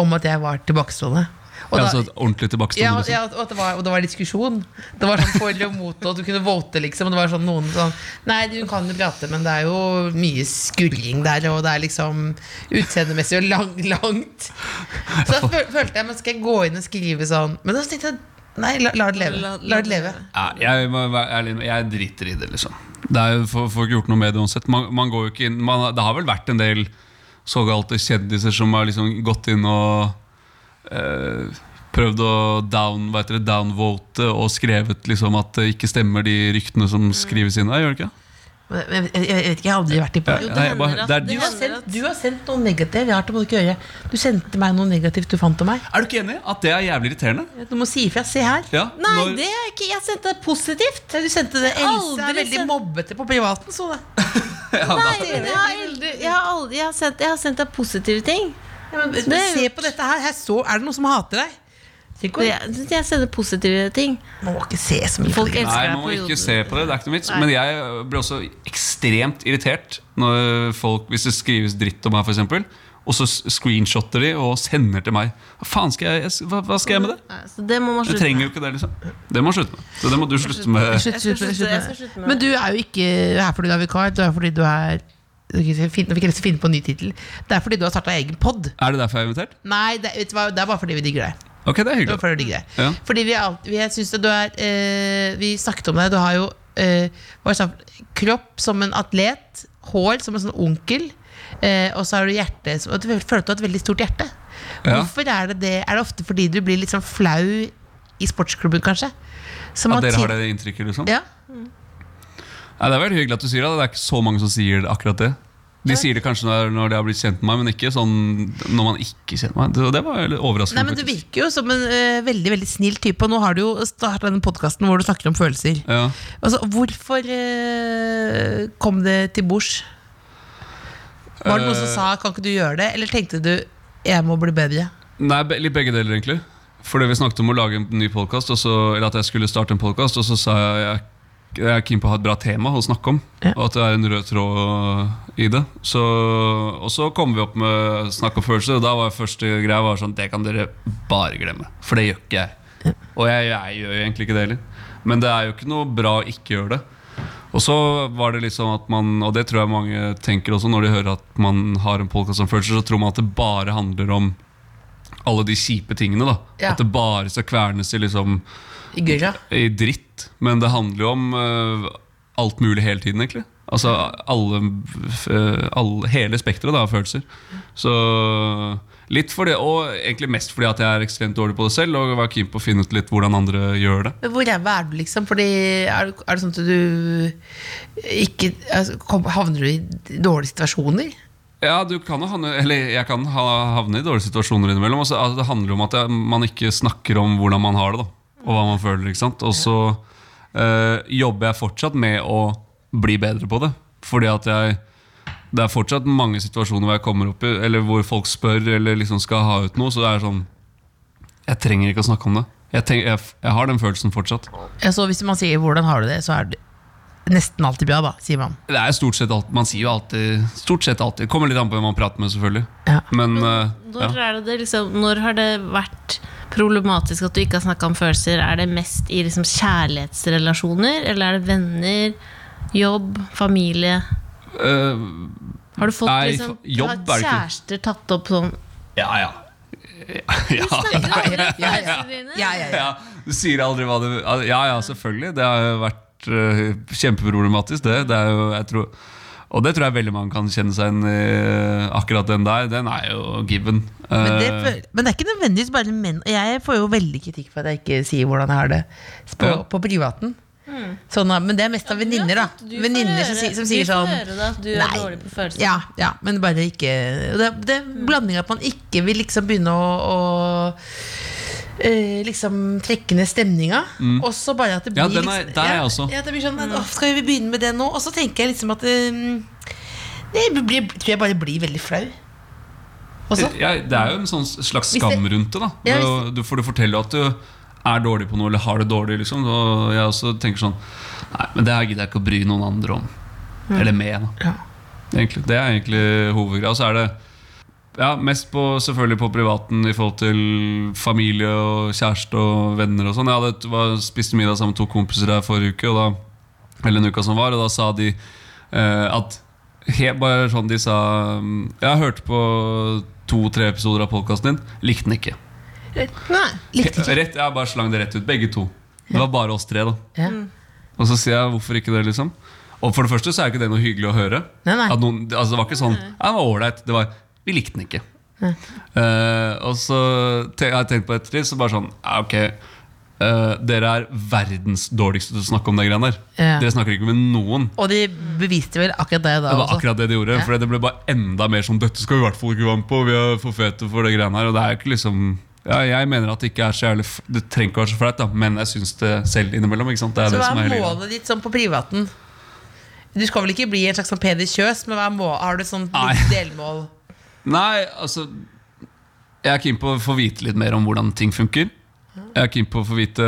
D: om at jeg var tilbakestående. Og
E: Ja,
D: da-
E: altså et ordentlig tilbakestående.
D: ja,
E: liksom.
D: ja, og, at det var, og det var diskusjon. Det var sånn for og mot, og du kunne vote, liksom. Og det var sånn noen sånn Nei, du kan jo prate, men det er jo mye skurring der, og det er liksom utseendemessig og lang, langt. Så da føl- følte jeg Men skal jeg gå inn og skrive sånn? Men da tenkte jeg Nei, la, la det leve.
B: La- la
D: La
B: det
D: det leve.
E: Ja, jeg, må være ærlig, med- jeg driter i det, liksom. Det er jo Får får ikke gjort noe med det uansett. Man, man går jo ikke inn man, har- Det har vel vært en del såkalte kjendiser som har liksom gått inn og eh, prøvd å down, hva heter det, downvote og skrevet liksom at det ikke stemmer de ryktene som skrives inn der, gjør det ikke?
D: Men Jeg, jeg, jeg vet ikke, jeg har aldri vært i
E: Ja,
D: på
B: det
E: nei, jeg
B: hender
E: bare-
B: at-
E: det er
B: det
E: de-
D: Du har, sendt,
B: at-
D: du har sendt noe negativt. Rart, det må du ikke gjøre. Du sendte meg noe negativt du fant om meg.
E: Er du ikke enig at det er jævlig irriterende?
D: Du må si ifra. Se her.
E: Ja,
B: Nei,
E: når-
B: det er ikke Jeg sendte det positivt.
D: Du sendte det. Else
B: Aldri
D: er veldig
B: sendt-
D: mobbete på privaten, så det.
B: Nei, men jeg har aldri Jeg har, aldri, jeg har, sendt, jeg har sendt deg positive ting.
D: Ja, men,
B: Det er jo-
D: se på dette her. her så, er det noen som hater deg? Tenk å-
B: Jeg, jeg sender positive ting.
D: Man må ikke se så mye på
B: Folk
D: det.
B: elsker
E: Nei,
B: deg
E: man
B: på
E: må ikke
B: jorden.
E: se på det. Det er ikke noe vits. Men jeg ble også ekstremt irritert når folk, hvis det skrives dritt om meg, for eksempel, og så s- screenshotter de og sender til meg. Hva faen skal jeg, jeg s- hva, hva skal jeg med det?
B: Nei, så det må man
E: Jeg
B: slutte
E: trenger
B: med.
E: jo ikke det, liksom. Det må man slutte med. Så det må du slutte med.
D: Slutt, slutt,
B: Jeg skal
D: slutt,
B: slutte- jeg skal
D: slutt.
B: slutte med
D: Men
B: det.
D: du er jo ikke her fordi du er vikar. Du er fordi du er Nå fikk jeg lyst til å finne på en ny tittel. Det er fordi du har starta egen pod.
E: Er det derfor jeg er invitert?
D: Nei, det, vet du hva, det er bare fordi vi digger deg.
E: Ok,
D: Det
E: det er
D: var
E: hyggelig.
D: fordi du digger deg.
E: Ja.
D: Fordi vi, er alt, vi, jeg synes at du er, eh, vi snakket om deg. Du har jo eh, hva er det sånn, kropp som en atlet, hår som en sånn onkel, eh, og så har du hjerte som og Du føler at du har et veldig stort hjerte.
E: Ja.
D: Hvorfor er det det? Er det ofte fordi du blir litt sånn flau i sportsklubben, kanskje? Som
E: At dere har
D: tid-
E: det inntrykket, liksom?
D: Ja.
E: Nei, det er veldig hyggelig at du sier det. Det er ikke så mange som sier det akkurat det. De sier det kanskje når, når de har blitt kjent med meg, men ikke sånn når man ikke kjenner meg. Det, det var veldig overraskende.
D: Nei, men Du
E: faktisk.
D: virker jo som en eh, veldig veldig snill type, og nå har du jo starta denne podkasten hvor du snakker om følelser.
E: Ja.
D: Altså, Hvorfor eh, kom det til bords? Var det noen som
E: Eh,
D: sa 'kan ikke du gjøre det', eller tenkte du 'jeg må bli bedre'?
E: Nei, be- litt begge deler egentlig Fordi vi snakket om å lage en ny podcast og så, Eller at jeg skulle starte en podcast Og så sa jeg jeg, jeg er keen på å ha et bra tema å snakke om
D: Ja.
E: Og at det er en rød tråd i det så, Og så kom vi opp med snakk om følelser Og da var første greia var sånn Det kan dere bare glemme For det gjør ikke jeg Og jeg, jeg gjør jo egentlig ikke det heller Men det er jo ikke noe bra å ikke gjøre det og så var det litt sånn at man, og det tror jeg mange tenker også når de hører at man har en podcast om følelser, så tror man at det bare handler om alle de kjipe tingene. da
D: Ja.
E: At det bare skal kvernes i, liksom,
D: I gurra?
E: i dritt. Men det handler jo om øh, alt mulig hele tiden, egentlig. Altså alle, øh, alle Hele spekteret da, av følelser. Så litt for det, og egentlig mest fordi at jeg er ekstremt dårlig på det selv og var keen på å finne ut litt hvordan andre gjør det.
D: Men hvor ræva er du, liksom? Fordi er, du- er det sånn at du ikke altså, kom, Havner du i dårlige situasjoner?
E: Ja, du kan jo havne, eller jeg kan ha, havne i dårlige situasjoner innimellom. og så- altså, det handler om at jeg, man ikke snakker om hvordan man har det. da og hva man føler. ikke sant? Og så eh, jobber jeg fortsatt med å bli bedre på det. Fordi at jeg Det er fortsatt mange situasjoner hvor jeg kommer opp i Eller hvor folk spør eller liksom skal ha ut noe. Så det er sånn Jeg trenger ikke å snakke om det. Jeg, tenk, jeg, jeg har den følelsen fortsatt.
D: Ja, så Altså, hvis man sier 'hvordan har du det', så er det nesten alltid bra, da, sier man.
E: Det er stort sett alt, Man sier jo alltid Stort sett alltid. Det Kommer litt an på hvem man prater med, selvfølgelig.
D: Ja.
E: Men eh,
B: Når,
E: ja.
B: er det det liksom, når har det vært problematisk at du ikke har snakka om følelser? Er det mest i liksom kjærlighetsrelasjoner, eller er det venner, jobb, familie?
E: Eh,
B: Har du fått
E: Nei,
B: liksom,
E: fa- jobb
B: har
E: er det ikke.
B: kjærester tatt opp sånn
E: ja, ja. ja.
B: ja,
D: Ja, ja, ja.
E: ja, du sier aldri hva du Ja, ja, selvfølgelig. Det har jo vært eh, kjempeproblematisk, det. det er jo, jeg tror, og det tror jeg veldig mange kan kjenne seg igjen i. eh, Akkurat den der, den er jo given.
D: Men det,
E: Eh,
D: føl- men det er ikke nødvendigvis bare menn. Og jeg får jo veldig kritikk for at jeg ikke sier hvordan jeg har det på,
E: Ja.
D: på privaten.
B: Mm.
D: Sånn, da, men det er mest av venninner, da. Venninner som, sier- som sier sånn
B: Du får høre da, at du
D: Nei.
B: er dårlig på følelser. Mm.
D: Ja, ja, men bare ikke og Det, det er blanding at man ikke vil liksom begynne å, å eh, liksom trekke ned stemninga. Og så bare at det
E: Mm. Ja,
D: blir
E: den er-
D: liksom,
E: der er jeg
D: ja,
E: også.
D: Ja, at det blir
B: Mm.
D: sånn, «Åh, Skal vi begynne med det nå? Og så tenker jeg liksom at eh, Det blir, tror jeg bare blir veldig flau. Også.
E: ja, det er jo en sånn slags
D: Hvis det-
E: skam rundt det. da
D: Ja,
E: Du- du, For du forteller jo at du er dårlig på noe, eller har det dårlig. liksom Og jeg også tenker sånn Nei, men det her gidder jeg ikke å bry noen andre om. Eller med, da.
D: Mm. Ja.
E: Egentlig, det er egentlig hovedgreia. Og så er det ja, mest på, selvfølgelig på privaten i forhold til familie og kjæreste og venner og sånn. Jeg hadde, var, spiste middag sammen med to kompiser her forrige uke, og da, eller en uka som var, og da sa de eh, at he, bare sånn de sa mm, Jeg hørte på to-tre episoder av podkasten din, likte den ikke.
B: Nei.
D: Likte ikke.
E: Rett, jeg bare slang det rett ut, begge to. Det var bare oss tre, da.
D: Ja.
E: Og så sier jeg hvorfor ikke det, liksom. Og for det første så er ikke det noe hyggelig å høre.
D: Nei, nei.
E: At noen, altså, det var ikke sånn «Ja, Det var ålreit. Det var Vi likte den ikke. Eh, og så te, har jeg tenkt på det ettertid, så bare sånn «Ja, Ok, eh, dere er verdens dårligste til å snakke om de greiene der.
D: Ja.
E: Dere snakker ikke med noen.
D: Og de beviste vel akkurat det da
E: Det var
D: også.
E: akkurat det de gjorde. For det ble bare enda mer som dette skal vi i hvert fall ikke være med på. Vi er for fete for det greiene her. Og det er jo ikke liksom ja, Jeg mener at det ikke er så jævlig f- Det trenger ikke være så flaut, da, men jeg syns det selv innimellom. Ikke sant? Det er
D: Så
E: det
D: hva
E: som er
D: er
E: hele greia.
D: målet ditt sånn på privaten? Du skal vel ikke bli en slags sånn Peder Kjøs, men hva er målet? har du et sånt
E: Nei.
D: delmål?
E: Nei, altså Jeg er keen på å få vite litt mer om hvordan ting funker. Jeg er keen på å få vite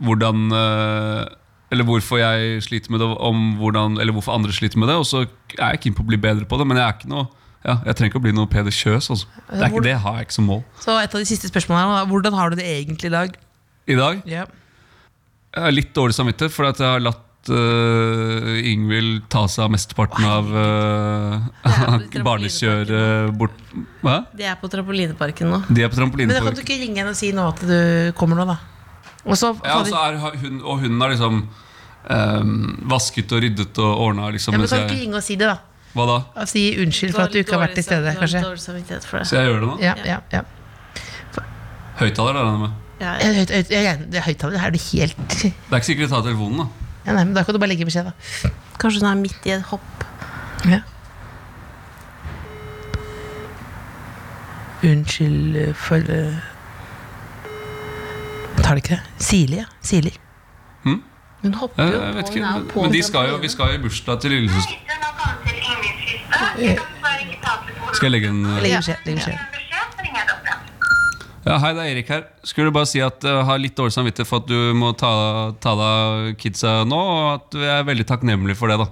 E: hvordan eh, Eller hvorfor jeg sliter med det, om hvordan, eller hvorfor andre sliter med det. Og så er jeg keen på å bli bedre på det, men jeg er ikke noe ja, jeg trenger ikke å bli noe Peder Kjøs. Altså. Det, er ikke, det har jeg ikke som mål.
D: Så et av de siste spørsmålene her var, Hvordan har du det egentlig i dag?
E: I dag
D: Ja.
E: jeg har litt dårlig samvittighet for at jeg har latt eh, Ingvild ta seg av mesteparten av uh,
B: Det er på
E: barnekjøret bort Hva?
B: De er på trampolineparken nå.
E: De
D: Men da
E: er på
D: kan
E: trampolinepark.
D: du ikke ringe henne og si nå at du kommer nå, da? Og så
E: Ja, altså, og, så er, har hun, og hun har liksom ehm, vasket og ryddet og ordna. Liksom,
D: ja, men
E: mens
D: Kan du ikke
E: jeg,
D: ringe og si det, da?
E: hva da?
D: Og si unnskyld for at du ikke har vært til stede,
B: Dårlig-
D: kanskje?
B: Dårlig samvittighet for det.
E: Så jeg gjør det nå?
D: Ja, ja, ja.
E: Høyttaler er det med.
B: Ja,
D: Jeg- høyt- høyt- jeg regner- det er Høyttaler her, er du helt
E: Det er ikke sikkert jeg tar telefonen, da.
D: ja, Nei, men da kan du bare legge beskjed, da.
B: Kanskje hun er midt i et hopp.
D: Ja. Unnskyld eh, for eh, Tar det ikke det? Sirlig, ja. Sirlig.
E: Hm?
B: Hun hopper
E: Jeg,
B: jo
E: jeg vet
B: på,
E: ikke.
B: hun er jo
E: Men,
B: på
E: men de skal jo,
B: trampoline.
E: vi skal jo i bursdag til lillesøster.
F: Det er nok annet til Ingvids søster. Jeg kan bare ikke ta telefonen.
E: Skal jeg legge en eh,
D: Legg beskjed. Legg beskjed.
F: En beskjed, så ringer jeg dere.
E: ja, Hei, det er Erik her. Skulle bare si at jeg har litt dårlig samvittighet for at du må ta, ta deg av kidsa nå, og at jeg er veldig takknemlig for det, da.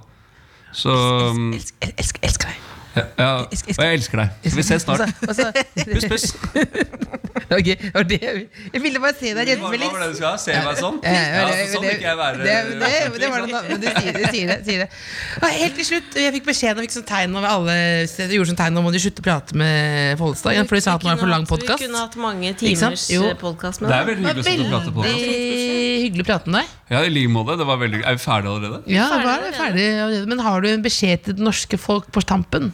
E: Så mm,
D: Elsker, el- elsker, elsker deg.
E: ja, ja, Og jeg elsker deg. Så vi ses snart.
D: Og så-
E: Puss, puss.
D: Ok, og det, jeg ville bare se deg
E: Hva
D: rense
E: var
D: meg litt.
E: det du skulle ha? Se meg sånn?
D: Ja,
E: Ja,
D: det-
E: sånn
D: det-
E: vil ikke jeg være.
D: det- det- det var det nå, men du sier det. Sier det, sier det. Og helt til slutt, jeg fikk beskjed og fikk sånn tegn over alle Jeg gjorde sånn tegn om å slutte å prate med Follestad, ja, for de sa at nå er det for lang podkast.
B: Vi kunne hatt mange
D: sant?
B: timers
D: Jo.
B: eh, podcast med
E: Det er
B: deg.
E: veldig hyggelig å sitte og prate på.
D: Veldig hyggelig å prate med deg.
E: Ja, i like måte. Det var veldig Er vi ferdige allerede?
D: Ja,
B: Ferdig
D: da er det ferdig allerede. Men har du en beskjed til det norske folk på tampen?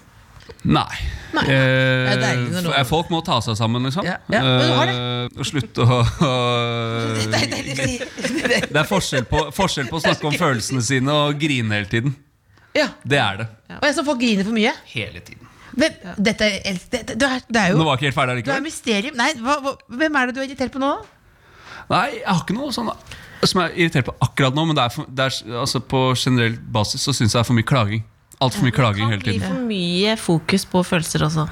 E: Nei.
D: Det er deilig når
E: Eh,
D: noen-
E: f- folk må ta seg sammen, liksom.
D: Ja, ja, men du har det.
E: Eh, og slutte å Det er forskjell på, forskjell på å snakke om følelsene sine og grine hele tiden.
D: Ja.
E: Det er det.
D: Og jeg så folk griner for mye.
E: Hele tiden.
D: Men dette er, el- det, det, det er, det er
E: Nå
D: jo
E: var jeg ikke helt ferdig
D: Du er
E: allikevel.
D: mysterium. Nei, hva, hva, hvem er det du er irritert på nå?
E: Nei, jeg har ikke noe sånn som jeg er irritert på akkurat nå, men det er for, det er, altså, på generell basis så syns jeg det er for mye klaging. Altfor mye klaging
B: Det
E: hele
B: blir
E: tiden.
B: for mye fokus på følelser også.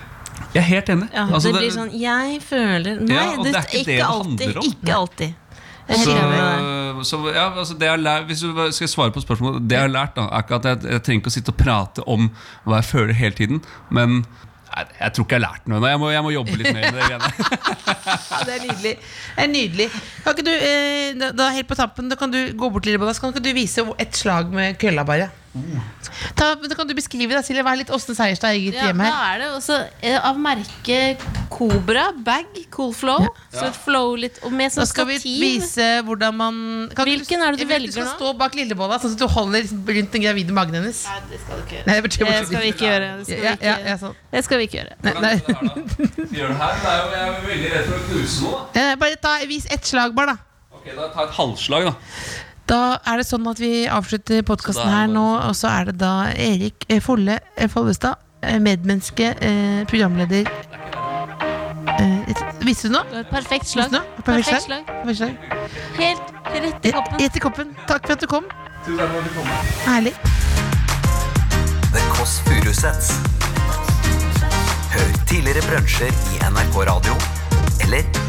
E: Jeg er helt enig.
B: Ja,
E: Altså,
B: det blir sånn 'jeg føler' Nei,
E: Ja, og
B: det,
E: det er ikke det
B: ikke,
E: det handler
B: alltid.
E: om.
B: Ikke alltid. Jeg er
E: Så,
B: helt enig med deg.
E: så ja, altså det jeg har lært, Hvis du skal svare på spørsmålet Det jeg har lært, da, er ikke at jeg, jeg trenger ikke å sitte og prate om hva jeg føler hele tiden. Men nei, jeg tror ikke jeg har lært noe ennå. Jeg, må- jeg må jobbe litt mer med det. greiene.
D: Ja, det er nydelig. Det er nydelig. Kan ikke du, eh, da- da helt på tampen, da kan du gå bort til Lillebolla, så kan ikke du vise hvor- et slag med kølla, bare. Ta, da kan du beskrive da, Silje. Hva er litt Åsne Seierstad i eget
B: Ja,
D: hjem
B: da
D: her?
B: er det også eh, av merket Cobra bag, Cool Flow. Så et flow litt, og med
D: Da
B: sånn
D: skal vi
B: stativ.
D: vise hvordan man kan ikke
B: Hvilken er det du
D: Jeg vil at
B: velger
D: Du skal
B: nå?
D: stå bak Lillebolla, sånn at du holder rundt den gravide magen hennes.
B: Nei, det skal du ikke gjøre.
D: Nei, jeg betyr
B: Det Eh, skal vi ikke gjøre. Det skal vi
D: Ja, ja, ja,
B: ikke,
D: sånn.
B: det skal vi ikke gjøre.
D: Nei, nei.
E: Vi gjør det her, men jeg er jo- jeg er jo veldig redd for å knuse noe. da.
D: Eh, Bare ta, vis ett slag, bare, da.
E: Ok, da tar jeg et halvslag, da.
D: Da er det sånn at vi avslutter
E: Så
D: podkasten
E: da er
D: her
E: det
D: nå,
E: bare
D: og så er det da Erik eh, Folle eh, Follestad, eh, medmenneske, eh, programleder eh, et- Visste du nå?
B: Det var et perfekt slag.
D: Visste du nå? Perfekt slag. Perfekt slag.
B: Helt rett i koppen.
D: Rett i koppen. Takk for at du kom.
E: Tusen takk for at du kom.
D: Herlig.
A: The Kåss Furuseths. Hør tidligere brunsjer i NRK Radio eller